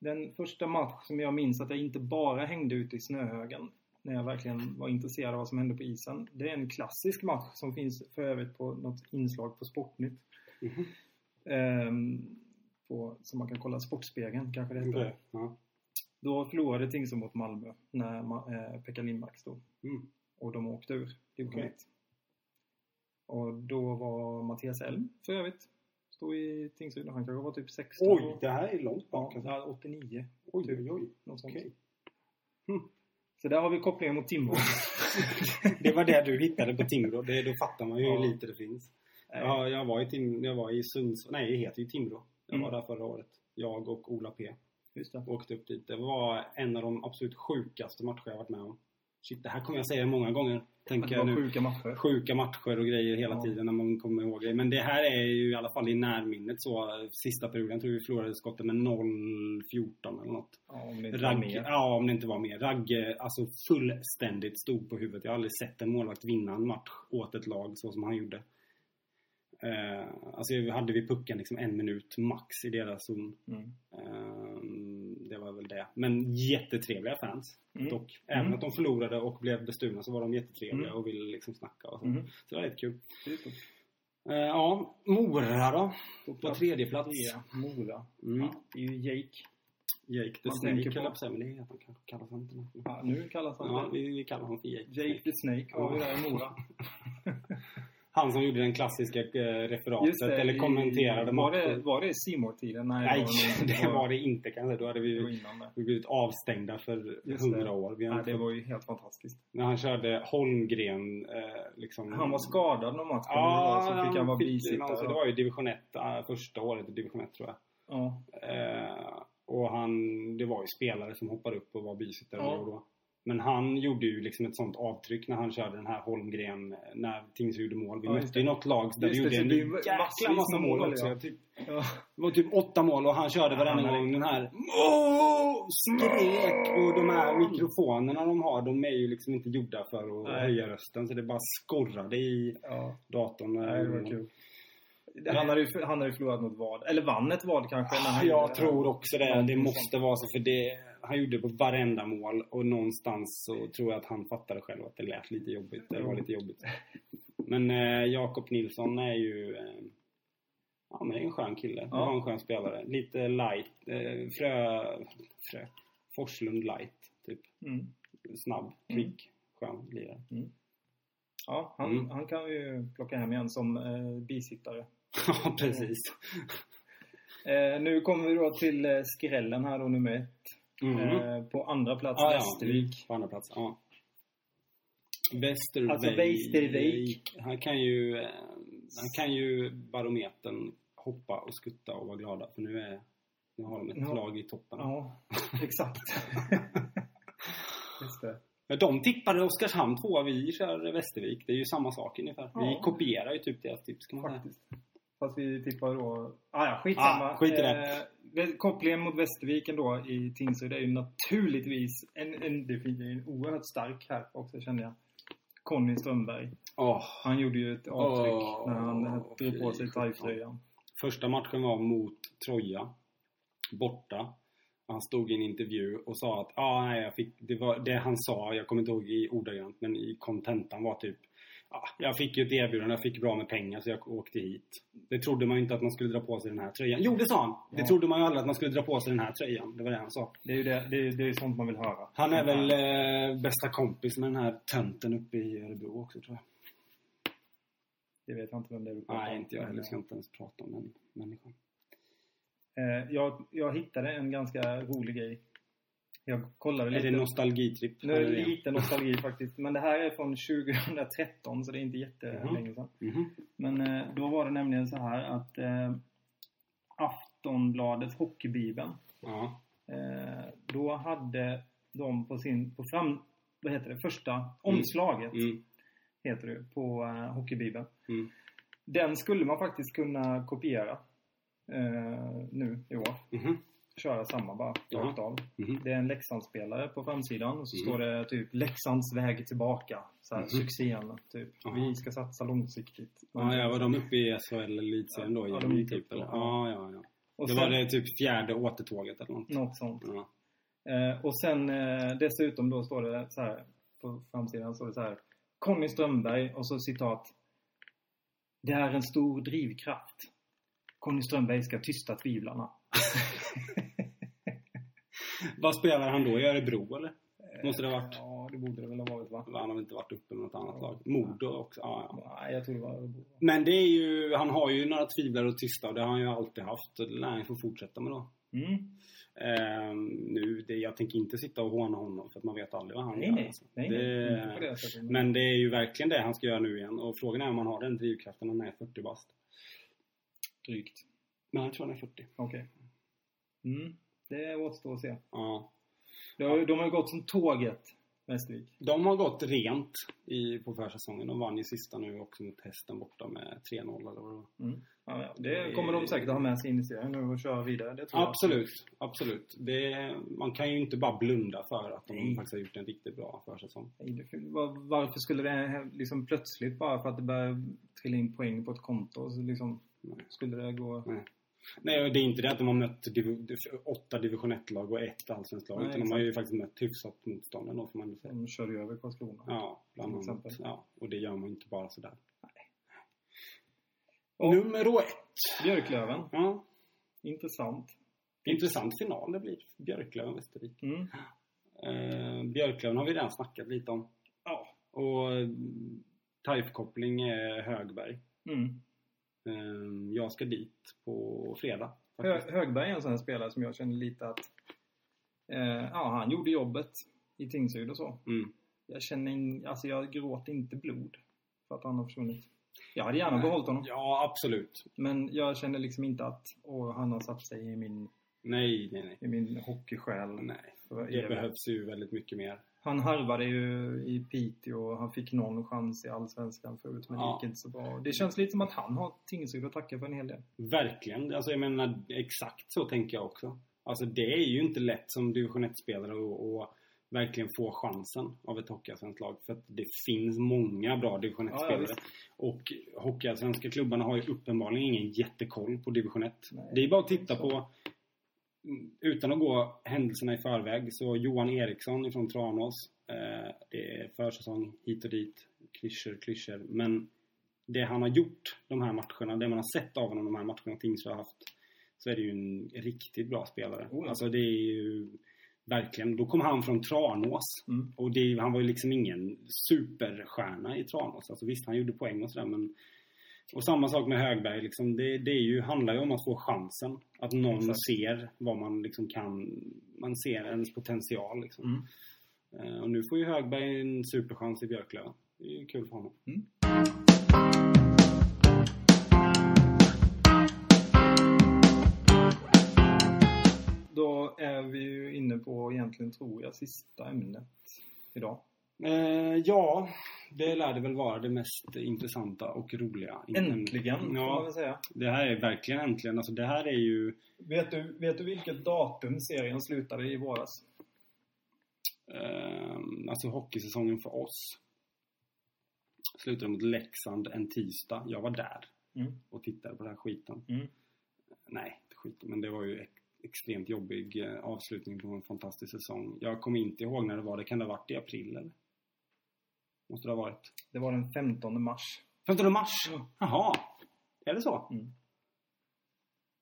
den första match som jag minns att jag inte bara hängde ute i snöhögen när jag verkligen var intresserad av vad som hände på isen. Det är en klassisk match som finns för övrigt på något inslag på Sportnytt. Mhm. Ehm, på, som man kan kolla, Sportspegeln kanske det heter. Okej. Ja. Då förlorade Tingsryd mot Malmö när Ma- eh, Pekka Lindmark stod Mm. och de åkte ur division Okej. 1. Och då var Mattias Elm för övrigt. Stod i Tingsryd och han kanske var typ 16 Oj, år. det här är långt Ja, bak. alltså. ja, 89. Oj, oj, oj. Något sånt. Okej. Så där har vi kopplingen mot Timrå. Det var det du hittade på Timrå. Det, då fattar man ju Ja. hur lite det finns. ja. Ja, jag var i Tim, jag var i Sunds, Nej, det heter ju Timrå. Jag Mm. var där förra året. Jag och Ola P. Just det. åkte upp dit. Det var en av de absolut sjukaste matcher jag varit med om. Shit, det här kommer jag säga många gånger. Att det Tänker jag var nu. sjuka matcher. Sjuka matcher och grejer hela Ja. tiden när man kommer ihåg det. Men det här är ju i alla fall i närminnet så. Sista perioden tror jag vi förlorade skottet med 0-14 eller något. Ja, om det inte var Ragge, mer. ja om det inte var mer. Ragge, alltså fullständigt stod på huvudet. Jag har aldrig sett en målvakt vinna en match åt ett lag så som han gjorde. Eh, alltså hade vi pucken liksom en minut max i deras zon. Mm. Ehm, Det var väl det. Men jättetrevliga fans Mm. dock. Även Mm. att de förlorade och blev bestulna så var de jättetrevliga Mm. och ville liksom snacka och så. Mhm. Så det var jättekul. Super. Eh, ja, Mora då? På På plats tredje plats. tre, Mora. Mm. Ja, det är ju Jake. Jake the Man Snake tänker höll jag på- på att säga, men det heter han kanske. Kallas han inte det? Ja, nu kallas han Ja, det. vi, vi kallar honom för Jake. the Jake the Snake. Och vi Ja. där i Mora. Han som gjorde den klassiska eh, referatet Just det, eller i- kommenterade var matchen. det, var det C-more-tiden? Nej, Nej, nog inte. <laughs> det var det inte kan jag säga. Då hade det var vi innan det. vi blivit avstängda för Just det. hundra år. Vi har Nej, inte- det var ju helt fantastiskt. När han körde Holmgren. Eh, liksom, Mm. Han var skadad någon match. kommer jag ihåg, Ja, så fick han vara någon- bisittare. så Det var ju division 1, eh, första året i division 1 tror jag. Ja. Eh, och han, det var ju spelare som hoppade upp och var bisittare Ja. då och då. Men han gjorde ju liksom ett sånt avtryck när han körde den här Holmgren, eh, när Tingsryd gjorde mål. Vi Ja, just mötte ju något lag där vi Just det, gjorde så en det är ju jäkla massvis massa med mål mål, också. ja. Typ, ja. det var typ åtta mål och han körde Ja, varenda han är- gång den här Mål! Skrek! Och de här mikrofonerna de har, de är ju liksom inte gjorda för att Nej. höja rösten. Så det bara skorrade i ja. datorn. Nej, det var kul. Han hade, ju, han hade ju förlorat mot vad. Eller vann ett vad kanske. när han gjorde Jag det. tror också det. Det Någonting måste vara så. För det, han gjorde det på varenda mål. Och någonstans så tror jag att han fattade själv att det lät lite jobbigt. Det var lite jobbigt. Men eh, Jakob Nilsson är ju... Eh, ja, men det är en skön kille. Det Ja. var en skön spelare. Lite light. Eh, frö... frö Forslund light, typ. Mm. Snabb, kvick, skön <laughs> lirare. Ja, han, Mm. han kan vi ju plocka hem igen som eh, bisittare. Ja, precis. Eh, nu kommer vi då till eh, skrällen här då, nummer ett. Mm. Eh, på andra plats, Ah, Västervik. Ja, på andra plats. Ja. Västervik. Alltså, Västervik. Han kan ju, eh, han kan ju barometern hoppa och skutta och vara glada för nu är nu har de ett Ja. lag i toppen. Ja, exakt. Just det. Ja, De tippade Oskarshamn tvåa, vi kör Västervik. Det är ju samma sak ungefär. Ja. Vi kopierar ju typ deras tips kan man säga. Faktiskt. Fast vi tippar då... Ah, ja, skitsamma. Ah, skit i det. Eh, vä- kopplingen mot Västerviken då i Tingsryd är ju naturligtvis en, en, det finns ju en oerhört stark här också känner jag. Conny Strömberg. Åh, Han gjorde ju ett avtryck Åh, när han eh, drog på fy sig sjutton. Taif-tröjan. Första matchen var mot Troja. Borta. Han stod i en intervju och sa att ah, nej, jag fick, det, var, det han sa, jag kommer inte ihåg i ordagrant, men i kontentan var typ ah, Jag fick ju ett erbjudande, jag fick bra med pengar så jag åkte hit. Det trodde man ju inte att man skulle dra på sig den här tröjan. Jo, det sa han! Det Ja. trodde man ju aldrig att man skulle dra på sig den här tröjan. Det var det han sa. Det är ju det, det, är, det är sånt man vill höra. Han är väl eh, bästa kompis med den här tönten uppe i Örebro också tror jag. Det vet jag inte vem det är du pratar Nej, om. inte jag heller. Men, Ska inte ens prata om den människan. eh, jag, jag hittade en ganska rolig grej Jag kollade Är lite. det nostalgitripp? Nu är det lite nostalgi faktiskt. Men det här är från <laughs> 2013 så det är inte jättelänge sedan. Mhm. Men eh, då var det nämligen så här att eh, Aftonbladet Hockeybibeln. Ja. Eh, då hade de på sin, på fram, vad heter det, första omslaget Mm. heter det ju, på eh, Hockeybibeln. Mm. Den skulle man faktiskt kunna kopiera eh, nu i år. Mhm. Köra samma bara, Ja. rakt av. Mhm. Det är en Leksandsspelare på framsidan och så Mm. står det typ Leksands väg tillbaka. Så här, Mhm. Succén, typ. Jaha. Vi ska satsa långsiktigt. Ja, ja, var de uppe i SHL eller elitserien då? Ja, Ja, de gick typ, upp då. eller? Ja, ja, ja. och det sen, var det typ fjärde återtåget eller något. Något sånt. Ja. Eh, och sen eh, dessutom då står det så här på framsidan står det så här Conny Strömberg och så citat Det är en stor drivkraft. Conny Strömberg ska tysta tvivlarna. Vad spelar han då? I Örebro eller? <laughs> Måste det ha varit? Ja, det borde det väl ha varit va? Han har väl inte varit uppe med något annat lag? Modo också? Ja, ja. Nej, jag tror det var Örebro. Men det är ju, han har ju några tvivlare och tysta och det har han ju alltid haft. Och Det lär han ju få fortsätta med då. Mm. Ehm, nu, det, jag tänker inte sitta och håna honom för att man vet aldrig vad han Nej, gör. nej. alltså. nej, Det- nej. Inte på det sättet. Men det är ju verkligen det han ska göra nu igen. Och frågan är om han har den drivkraften när han är 40 bast. drygt. Men jag tror han är 40. Okej. Mm. Det återstår att se. Ja. De har, ju- de har ju gått som tåget, Västervik. De har gått rent i, på försäsongen. De vann ju sista nu också mot hästen borta med 3-0 eller vad det var. Mm. Ja, ja. Det kommer de säkert att ha med sig in i serien nu och köra vidare. Det tror jag. Absolut, absolut. Det, man kan ju inte bara blunda för att de Nej. faktiskt har gjort en riktigt bra försäsong. Nej, det- var- Varför skulle det här liksom plötsligt bara för att det börjar trilla in poäng på ett konto så liksom Nej. skulle det gå... Nej. Nej, och det är inte det att de har mött div- åtta division 1-lag och ett allsvenskt lag. Nej, Utan de har ju faktiskt mött hyfsat motstånd ändå, får man ju säga. De körde ju över Karlskrona. Ja, bland Till annat. exempel. Ja, och det gör man ju inte bara sådär. Och- Nummer ett. Björklöven, Ja, intressant. intressant final det blir. Björklöven-Västervik. Mm. Eh, Björklöven har vi redan snackat lite om. Ja. Och eh, typekoppling är Högberg. Mm. Eh, jag ska dit på fredag. Hö faktiskt. Högberg är en sån här spelare som jag känner lite att... Eh, ja, han gjorde jobbet i Tingsryd och så. Mm. Jag känner in, alltså jag gråter inte blod för att han har försvunnit. Jag hade gärna behållit honom. Ja, absolut. Men jag känner liksom inte att åh, han har satt sig i min, Nej, nej, nej. i min hockeysjäl. nej. för Det evigt. behövs ju väldigt mycket mer. Han harvade ju i Piteå och han fick någon chans i Allsvenskan förut men det Ja. gick inte så bra. Det känns lite som att han har Tingsryd att tacka för en hel del. Verkligen. Alltså jag menar, exakt så tänker jag också. Alltså det är ju inte lätt som division 1-spelare att att verkligen få chansen av ett hockeyallsvenskt lag. För att det finns många bra division Ja, 1-spelare. ja, och hockeyallsvenska klubbarna har ju uppenbarligen ingen jättekoll på division 1. Nej, det är bara att titta så. på mm, utan att gå händelserna i förväg så Johan Eriksson från Tranås. Eh, det är försäsong hit och dit. Klyschor, klyschor. Men det han har gjort de här matcherna, det man har sett av honom de här matcherna Tingsryd har haft. Så är det ju en riktigt bra spelare. Oh ja. Alltså det är ju verkligen. Då kom han från Tranås. Mm. Och det, han var ju liksom ingen superstjärna i Tranås. Alltså visst, han gjorde poäng och sådär men... Och samma sak med Högberg. Liksom, det det är ju, handlar ju om att få chansen. Att någon Exakt. ser vad man liksom kan... Man ser ens potential liksom. Mm. Eh, och nu får ju Högberg en superchans i Björklöven. Det är ju kul för honom. Mm. Då är vi ju inne på egentligen, tror jag, sista ämnet idag. Eh, ja, det lär det väl vara det mest intressanta och roliga. Äntligen, får man Mm. Ja, väl säga. det här är verkligen äntligen. Alltså det här är ju... Vet du, vet du vilket datum serien slutade i våras? Eh, alltså hockeysäsongen för oss slutade mot Leksand en tisdag. Jag var där Mm. och tittade på den här skiten. Mm. Nej, inte skiten, men det var ju ex- extremt jobbig eh, avslutning på en fantastisk säsong. Jag kommer inte ihåg när det var. Det kan det ha varit i april eller? Måste det ha varit? Det var den 15 mars. 15 mars? Jaha! Är det så? Mm.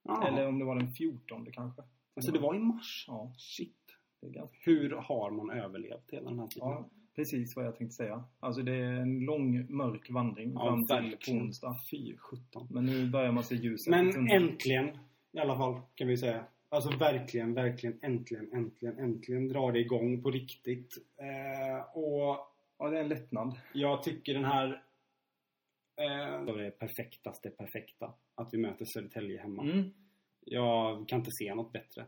Ja. Eller om det var den 14 kanske. alltså det var i mars? Ja, Shit! det är ganska Hur har man överlevt hela den här tiden? Ja, precis vad jag tänkte säga. Alltså det är en lång mörk vandring Ja, fram till på verkligen. onsdag. Fy sjutton. Men nu börjar man se ljuset i Men tunneln. äntligen, i alla fall, kan vi säga. Alltså verkligen, verkligen, äntligen, äntligen, äntligen drar det igång på riktigt. Eh, och Ja, det är en lättnad. jag tycker den här... Eh, det var det perfektaste perfekta. Att vi möter Södertälje hemma. Mm. Jag kan inte se något bättre.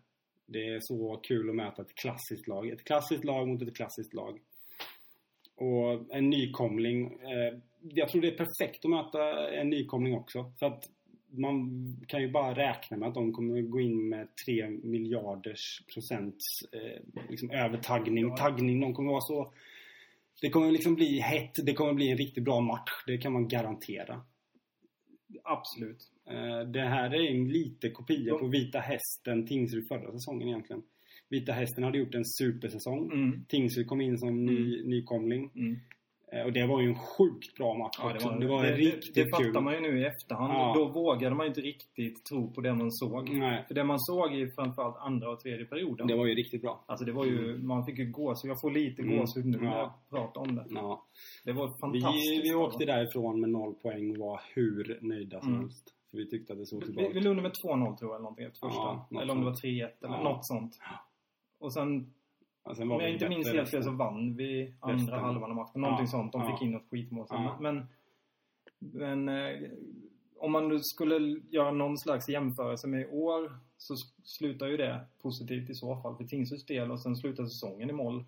Det är så kul att möta ett klassiskt lag. Ett klassiskt lag mot ett klassiskt lag. Och en nykomling. Eh, jag tror det är perfekt att möta en nykomling också. För att man kan ju bara räkna med att de kommer gå in med 3 miljarders procents eh, liksom övertaggning. Ja. Taggning. De kommer vara så... Det kommer liksom bli hett. Det kommer bli en riktigt bra match. Det kan man garantera. Absolut. Eh, Det här är en liten kopia Ja. på Vita Hästen Tingsryd förra säsongen egentligen. Vita Hästen hade gjort en supersäsong. Mm. Tingsryd kom in som ny, nykomling. Mm. Eh, Och det var ju en sjukt bra match Ja, också. Det var, riktigt det, det kul. fattar man ju nu i efterhand. Ja. Då vågade man ju inte riktigt tro på det man såg. Nej, För det man såg i framförallt andra och tredje perioden. det var ju riktigt bra. Alltså det var ju, man fick ju gåshud. Jag får lite Mm. gåshud nu när Ja. jag pratar om det. Ja. Det var Vi, fantastiskt. vi åkte därifrån med noll poäng och var hur nöjda som Mm. helst. För vi tyckte att det såg Alltså. Vi, vi tillbaka. låg med 2-0 tror jag eller någonting efter Ja, första. något eller om det var sånt. 3-1 eller Ja. något sånt. Och sen, Ja, sen var om vi jag inte bättre minns helt resten. fel så vann vi andra Resten. halvan av matchen. Någonting Ja, sånt. De ja. fick in något skitmål sen. Ja. Men, men eh, om man nu skulle göra någon slags jämförelse med i år så s- slutar ju det positivt i så fall för Tingsryds del och sen slutar säsongen i <laughs> moll.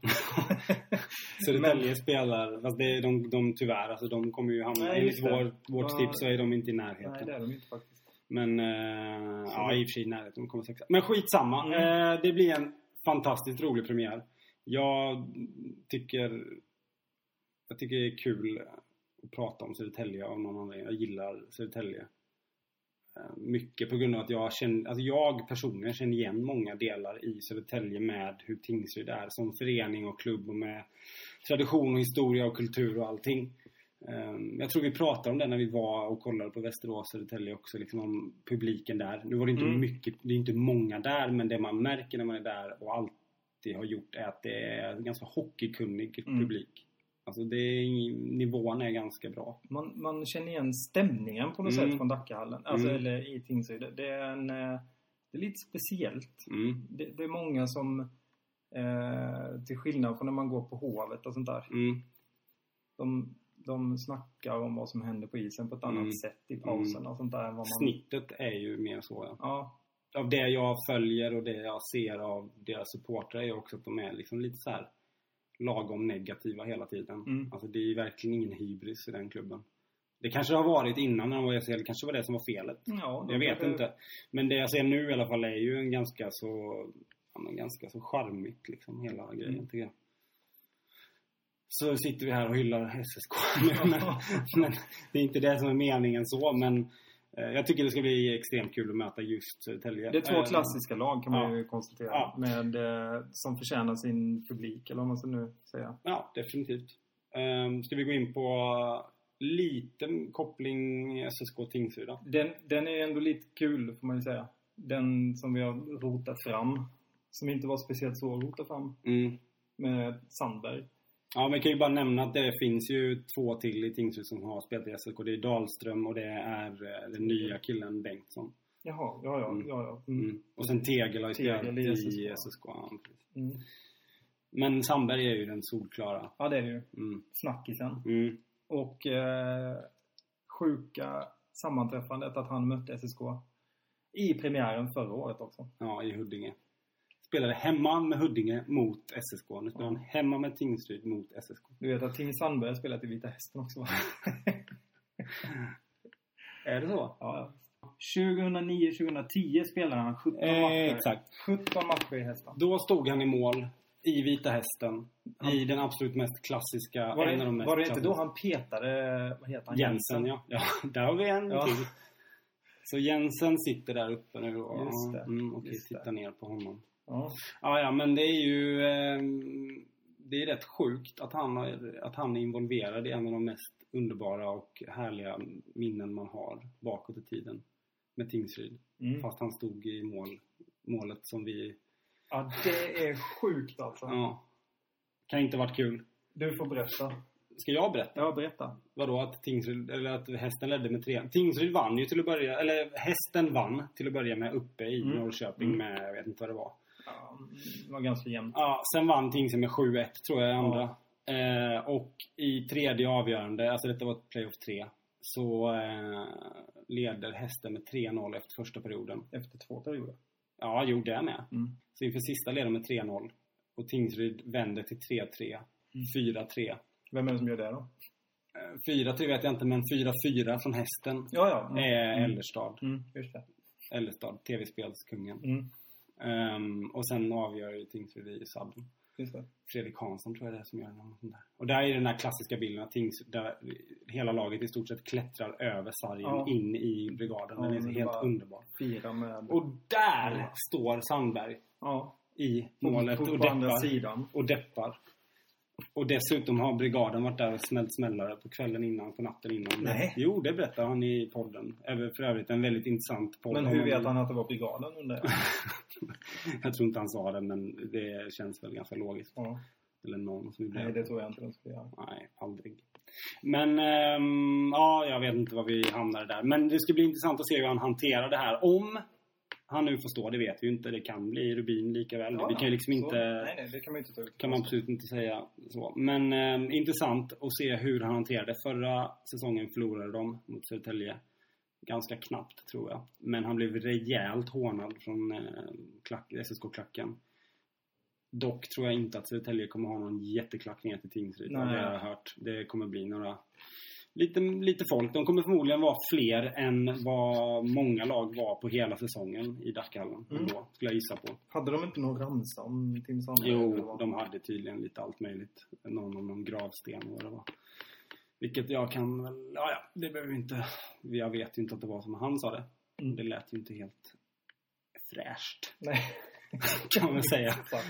Södertälje Men- spelar, fast det är de, de tyvärr, alltså de kommer ju hamna... Nej, enligt just det. vår, vårt Ja. tips så är de inte i närheten. Nej, det är de inte faktiskt. Men eh, ja, i och för sig i närheten. De kommer sexa. Men skitsamma. Mm. Eh, det blir en fantastiskt rolig premiär. Jag tycker, jag tycker det är kul att prata om Södertälje av någon anledning. Jag gillar Södertälje. Eh, Mycket på grund av att jag känner, alltså jag personligen känner igen många delar i Södertälje med hur Tingsryd är som förening och klubb och med tradition och historia och kultur och allting. Ehm, Jag tror vi pratade om det när vi var och kollade på Västerås och Södertälje också, liksom om publiken där. Nu var det inte Mm. mycket, det är inte många där, men det man märker när man är där och alltid har gjort är att det är en ganska hockeykunnig Mm. publik. Alltså det är, nivån är ganska bra. Man, man känner igen stämningen på något Mm. sätt från Dackahallen. Alltså, Mm. eller i Tingsryd. Det är, en, eh, det är lite speciellt. Mm. Det, det är många som, eh, till skillnad från när man går på Hovet och sånt där, Mm. de, de snackar om vad som händer på isen på ett annat Mm. sätt i pauserna och sånt där. än Vad man, Snittet är ju mer så. Ja. Ja, Av det jag följer och det jag ser av deras supportrar är också att de är liksom lite så här lagom negativa hela tiden. Mm. Alltså det är verkligen ingen hybris i den klubben. Det kanske har varit innan när de var i SHL, det kanske var det som var felet. ja de Jag vet kanske- inte. Men det jag ser nu i alla fall är ju en ganska så... Ja, men ganska så charmigt liksom hela grejen Mm. tycker jag. Så sitter vi här och <laughs> hyllar SSK nu men, men det är inte det som är meningen så men eh, jag tycker det ska bli extremt kul att möta just Södertälje. Det är två Eh, klassiska lag kan man ja. ju konstatera. Ja. Med, eh, som förtjänar sin publik, eller vad man ska nu säga. Ja, definitivt. Um, ska vi gå in på liten koppling SSK Tingsryd då? Den, den är ändå lite kul, får man ju säga. Den som vi har rotat fram. Som inte var speciellt svår att rota fram. Mm. Med Sandberg. Ja, men jag kan ju bara nämna att det finns ju två till i Tingsryd som har spelat i SSK. Det är Dahlström och det är eh, den nya killen Bengtsson. Jaha, ja, ja, Mm. ja, ja. Mm. Mm. Och sen Tegel har ju Tegel spelat i i SSK. SSK. ja, precis. Mm. men Sandberg är ju den solklara. Ja, det är det ju. Mm. Snackisen. Mm. Och eh, sjuka sammanträffandet att han mötte SSK i premiären förra året också. Ja, i Huddinge. Spelade hemma med Huddinge mot SSK. Nu spelar han hemma med Tingsryd mot SSK. Du vet att Tim Sandberg har spelat i Vita Hästen också va? <laughs> Är det så? ja. 2009-2010 spelade han 17 Eh, matcher. exakt. 17 matcher i Hästen. Då stod han i mål i Vita Hästen. I den absolut mest klassiska. Var en av de det, mest var det inte klassiska. då han petade, vad heter han? Jensen, ja. ja. <laughs> Där har vi en Ja. till. Så Jensen sitter där uppe nu och, Just det. Mm, och Just tittar det. ner på honom. Ja. Ja, ja, men det är ju... ehm, Det är rätt sjukt att han, har, att han är involverad i en av de mest underbara och härliga minnen man har bakåt i tiden med Tingsryd. Mm. Fast han stod i mål, målet som vi... ja, det är sjukt alltså. Ja. Kan inte varit kul. Du får berätta. Ska jag berätta? Ja, berätta. Vadå att Tingsryd, eller att hästen ledde med tre Tingsryd vann ju till att börja, eller hästen vann till att börja med uppe i Mm. Norrköping Mm. med, jag vet inte vad det var. Ja, mm, det var ganska jämnt. Ja, sen vann Tingsryd med 7-1 tror jag i andra. Eh, och i tredje avgörande, alltså detta var playoff 3, så eh, leder hästen med 3-0 efter första perioden. Efter två perioder. Ja, gjorde jag med. Mm. Så inför sista leder de med 3-0. Och Tingsryd vänder till 3-3. Mm. 4-3. Vem är det som gör det då? Eh, 4-3 vet jag inte, men 4-4 från hästen. Ja, ja. Mm. är Mm. Ellerstad. Mm, just det. Ellerstad, tv-spelskungen. Mm, Ehm, och sen avgör ju Tingsryd i sadden. just det. Fredrik Hansson tror jag det är som gör något sånt där. Och där är den här klassiska bilden att Tingsryd, där hela laget i stort sett klättrar över sargen Ja. in i brigaden. Den Ja, är så men det helt bara- underbar. Fira med... Och där Ja. står Sandberg ja, i på- målet på, och på andra deppar. sidan. och deppar. Och dessutom har brigaden varit där och smällt smällare på kvällen innan, på natten innan. Nej. Jo, det berättar han i podden. Även för övrigt en väldigt intressant podd. Men om hur honom. vet han att det var brigaden undrar jag? <laughs> jag tror inte han sa det, men det känns väl ganska logiskt. Ja. Eller någon som gjorde Nej, det tror jag inte de skulle göra. Nej, aldrig. Men, ehm, ja, jag vet inte var vi hamnade där. Men det ska bli intressant att se hur han hanterar det här. Om han nu får stå, det vet vi ju inte. Det kan bli Rubin lika väl. Ja, vi kan ju liksom så- inte... Nej, nej, det kan man ju inte ta ut. kan man absolut inte säga så. Men eh, intressant att se hur han hanterade. Förra säsongen förlorade de mot Södertälje. Ganska knappt tror jag. Men han blev rejält hånad från eh, klack, SSK-klacken. Dock tror jag inte att Södertälje kommer ha någon jätteklack ner till Tingsryd. Det Nej. har jag hört. Det kommer bli några Lite, lite folk. De kommer förmodligen vara fler än vad många lag var på hela säsongen i Dackhallen. Mm. Då, skulle jag gissa på. Hade de inte någon ramsa om Tim Sandberg? Eh, eller Jo, vad? de hade tydligen lite allt möjligt. Någon om någon gravsten och vad det var. Vilket jag kan väl... Ja, ja, det behöver vi inte... Jag vet ju inte att det var som han sa det. Mm. Det lät ju inte helt fräscht, <laughs> Nej. kan man säga. <laughs> Exakt.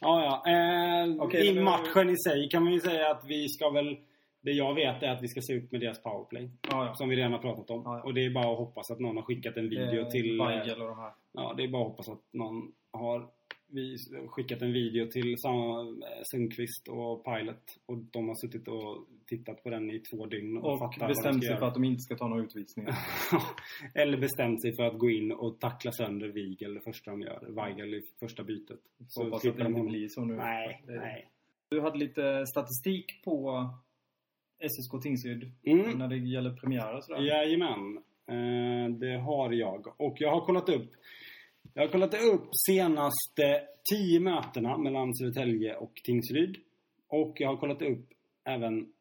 Ja, ja. Eh, Okej, I nu- matchen i sig kan man ju säga att vi ska väl... Det jag vet är att vi ska se upp med deras powerplay. Ja, ja. Som vi redan har pratat om. Ja, ja. Och det är bara att hoppas att någon har skickat en video Eh, till... eh, Weigel och de här. Ja, det är bara att hoppas att någon har vis- skickat en video till Sam- eh, Sundqvist och Pilot och de har suttit och tittat på den i två dygn och, Och fattat vad de bestämt ska sig för göra. att de inte ska ta några utvisningar. <laughs> Eller bestämt sig för att gå in och tackla sönder Vigel det första de gör. Weigel i första bytet. Så hoppas att klipper det de inte honom. blir så nu. Nej, Det- nej. Du hade lite statistik på SSK Tingsryd Mm. när det gäller premiärer och sådär. Jajamän. Eh, Det har jag. Och jag har kollat upp jag har kollat upp senaste 10 mötena mellan Södertälje och Tingsryd. Och jag har kollat upp även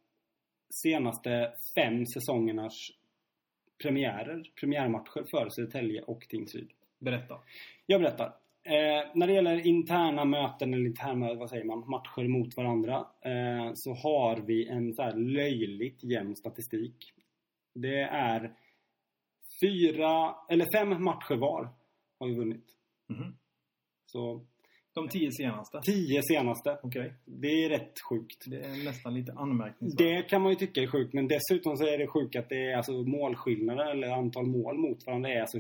senaste fem säsongernas premiärer, premiärmatcher för Södertälje och Tingsryd. Berätta. Jag berättar. Eh, när det gäller interna möten, eller interna, vad säger man, matcher mot varandra. Eh, så har vi en så här löjligt jämn statistik. Det är fyra, eller fem matcher var har vi vunnit. Mm-hmm. Mhm. Så De tio senaste. tio senaste. Okej. Det är rätt sjukt. Det är nästan lite anmärkningsvärt. Det kan man ju tycka är sjukt, men dessutom så är det sjukt att det är alltså målskillnader eller antal mål mot varandra är alltså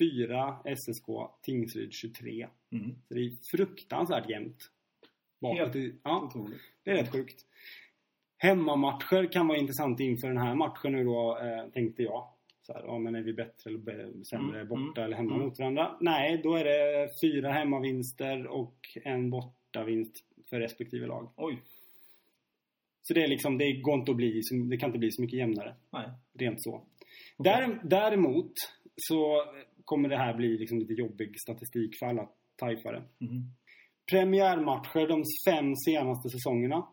24 SSK, Tingsryd 23. Mm. Så det är fruktansvärt jämnt. Bakåt Helt i, ja, Otroligt. det är rätt sjukt. Hemmamatcher kan vara intressant inför den här matchen nu då, eh, tänkte jag. Så här, ja, men är vi bättre eller be- sämre Mm, borta mm, eller hemma mm. mot varandra? Nej, då är det fyra hemmavinster och en bortavinst för respektive lag. Oj. Så det är liksom, det går inte att bli, så- det kan inte bli så mycket jämnare. Nej. Rent så. Okej. Därem- Däremot så kommer det här bli liksom lite jobbig statistik för alla tajfare. Mhm. Premiärmatcher de fem senaste säsongerna.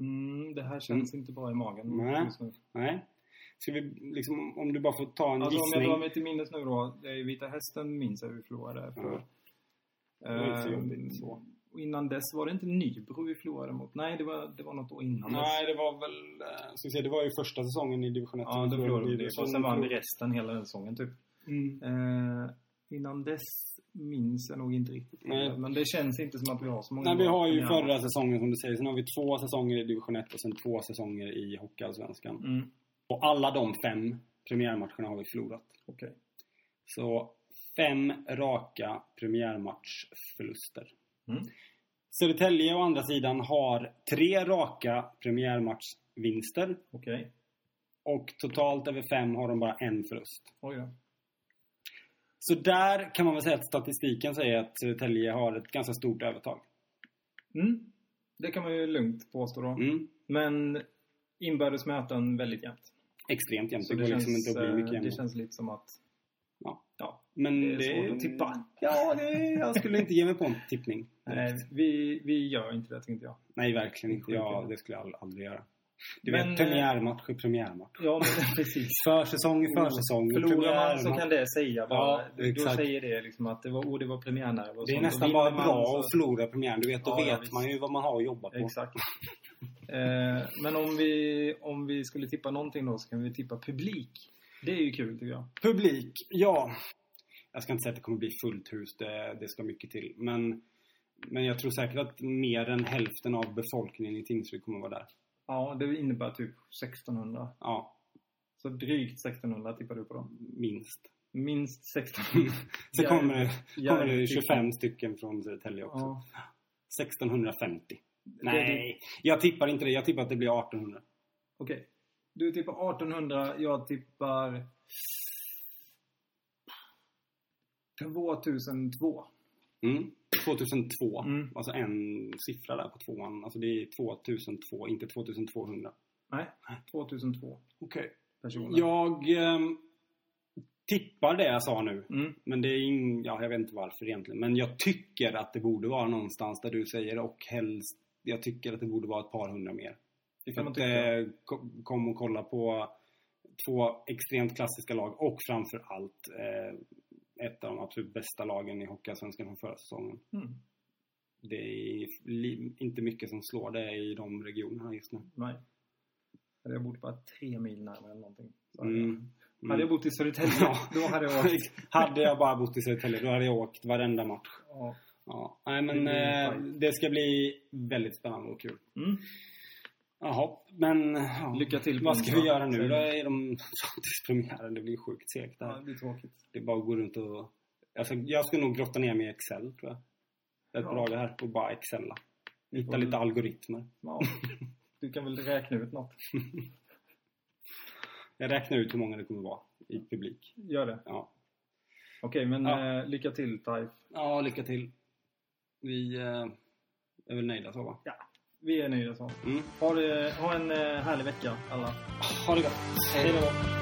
Mm, det här känns inte bra i magen. Nej. just nu. Nej. Ska vi liksom, om du bara får ta en Alltså, om jag gissning. drar mig till minnes nu då. Det är Vita Hästen minns jag vi förlorade. För, Ja. Det var inte så Ehm, jobbigt så. Och innan dess var det inte Nybro vi förlorade mot. Nej, det var, det var något år innan Nej, dess. det var väl... eh, Ska vi se, det var ju första säsongen i division 1. Ja, då förlorade vi det. Division Och sen vann vi två. resten hela den säsongen typ. Mm. Eh, innan dess minns jag nog inte riktigt. Nej. Men det känns inte som att vi har så många Nej, vi har ju bra förra säsongen som du säger. Sen har vi två säsonger i division 1 och sen två säsonger i Hockeyallsvenskan. Mm, Och alla de fem premiärmatcherna har vi förlorat. okej. Så fem raka premiärmatchförluster. Mm. Södertälje å andra sidan har tre raka premiärmatchvinster. Okej. Och totalt över fem har de bara en förlust. Oj då. Så där kan man väl säga att statistiken säger att Södertälje har ett ganska stort övertag. Mm. Det kan man ju lugnt påstå då. Mm. Men inbördes möten väldigt jämnt. Extremt jämnt. Så Det går det, liksom känns, inte att bli mycket eh, det jämnare. känns lite som att... Ja. ja. Men det är svårt att tippa. Ja, det, jag skulle inte ge mig på en tippning. Nej, vi, vi gör inte det tänkte jag. Nej, verkligen inte. Sjukt, Ja, ja. det skulle jag ald- aldrig göra. Du Men, eh, vet, premiärmatch är premiärmatch. Ja, <laughs> men precis. Försäsong är försäsong. Förlorar man premiärmatch. så kan det säga bara. Ja, då exakt. säger det liksom att det var, oh, det var premiärnerver och Det är sånt. nästan Och bara vinner man bra så- att förlora premiären. Du vet, då Ja, ja, vet visst. man ju vad man har att jobba på. Exakt. eh, men om vi, om vi skulle tippa någonting då så kan vi tippa publik. Det är ju kul tycker jag. Publik, ja. Jag ska inte säga att det kommer bli fullt hus. Det, det ska mycket till. Men, men jag tror säkert att mer än hälften av befolkningen i Tingsryd kommer vara där. Ja, det innebär typ 1600. Ja, Så drygt 1600 tippar du på dem. minst. Minst 1600. Så Ja, kommer, det- ja, <laughs> kommer det jag tycker- 25 stycken från Södertälje också. Ja. 1650. är Nej, jag tippar inte det. Jag tippar att det blir 1800. Okej. Du tippar 1800, jag tippar... 2002. Mm. 2002. Mm. Alltså en siffra där på tvåan. Alltså det är 2002, inte 2200. Nej, 2002 Okej. personer. Jag ehm, tippar det jag sa nu. Mm. Men det är in, ja, jag vet inte varför egentligen. Men jag tycker att det borde vara någonstans där du säger och helst. Jag tycker att det borde vara ett par hundra mer. Det För kan man att, tycka. eh, ko- kom och kolla på två extremt klassiska lag och framför allt eh, ett av de absolut bästa lagen i Hockeyallsvenskan från förra säsongen. Mm. Det är li- inte mycket som slår det i de regionerna just nu. Nej. Hade jag bott bara tre mil närmare eller någonting. Så hade, Mm. jag, <laughs> hade jag bott i Södertälje, Ja. då hade jag <laughs> varit... hade jag bara bott i Södertälje, då hade jag åkt varenda match. Ja. Ja. Nej, men Det blir en eh, det ska bli väldigt spännande och kul. Mm. Jaha, men ja. Lycka till på Vad ska vi onsdag, göra nu säger då? vi. I de <laughs> gratispremiären? Det blir sjukt segt det Ja, här. det blir tråkigt. Det är bara att gå runt och... Jag ska, jag ska nog grotta ner mig i Excel, tror jag. Det är ett Ja. bra det här, och bara excella. Hitta får lite väl- algoritmer. Ja. Du kan väl räkna ut något. Jag räknar ut hur många det kommer vara i publik. Gör det. Ja, Okej, men Ja. eh, lycka till Taif. ja lycka till. Vi eh, är väl nöjda så, va? Vi är nöjda så. Mm. Ha, det, ha en eh, härlig vecka alla. Ha det gott! Hej då! då.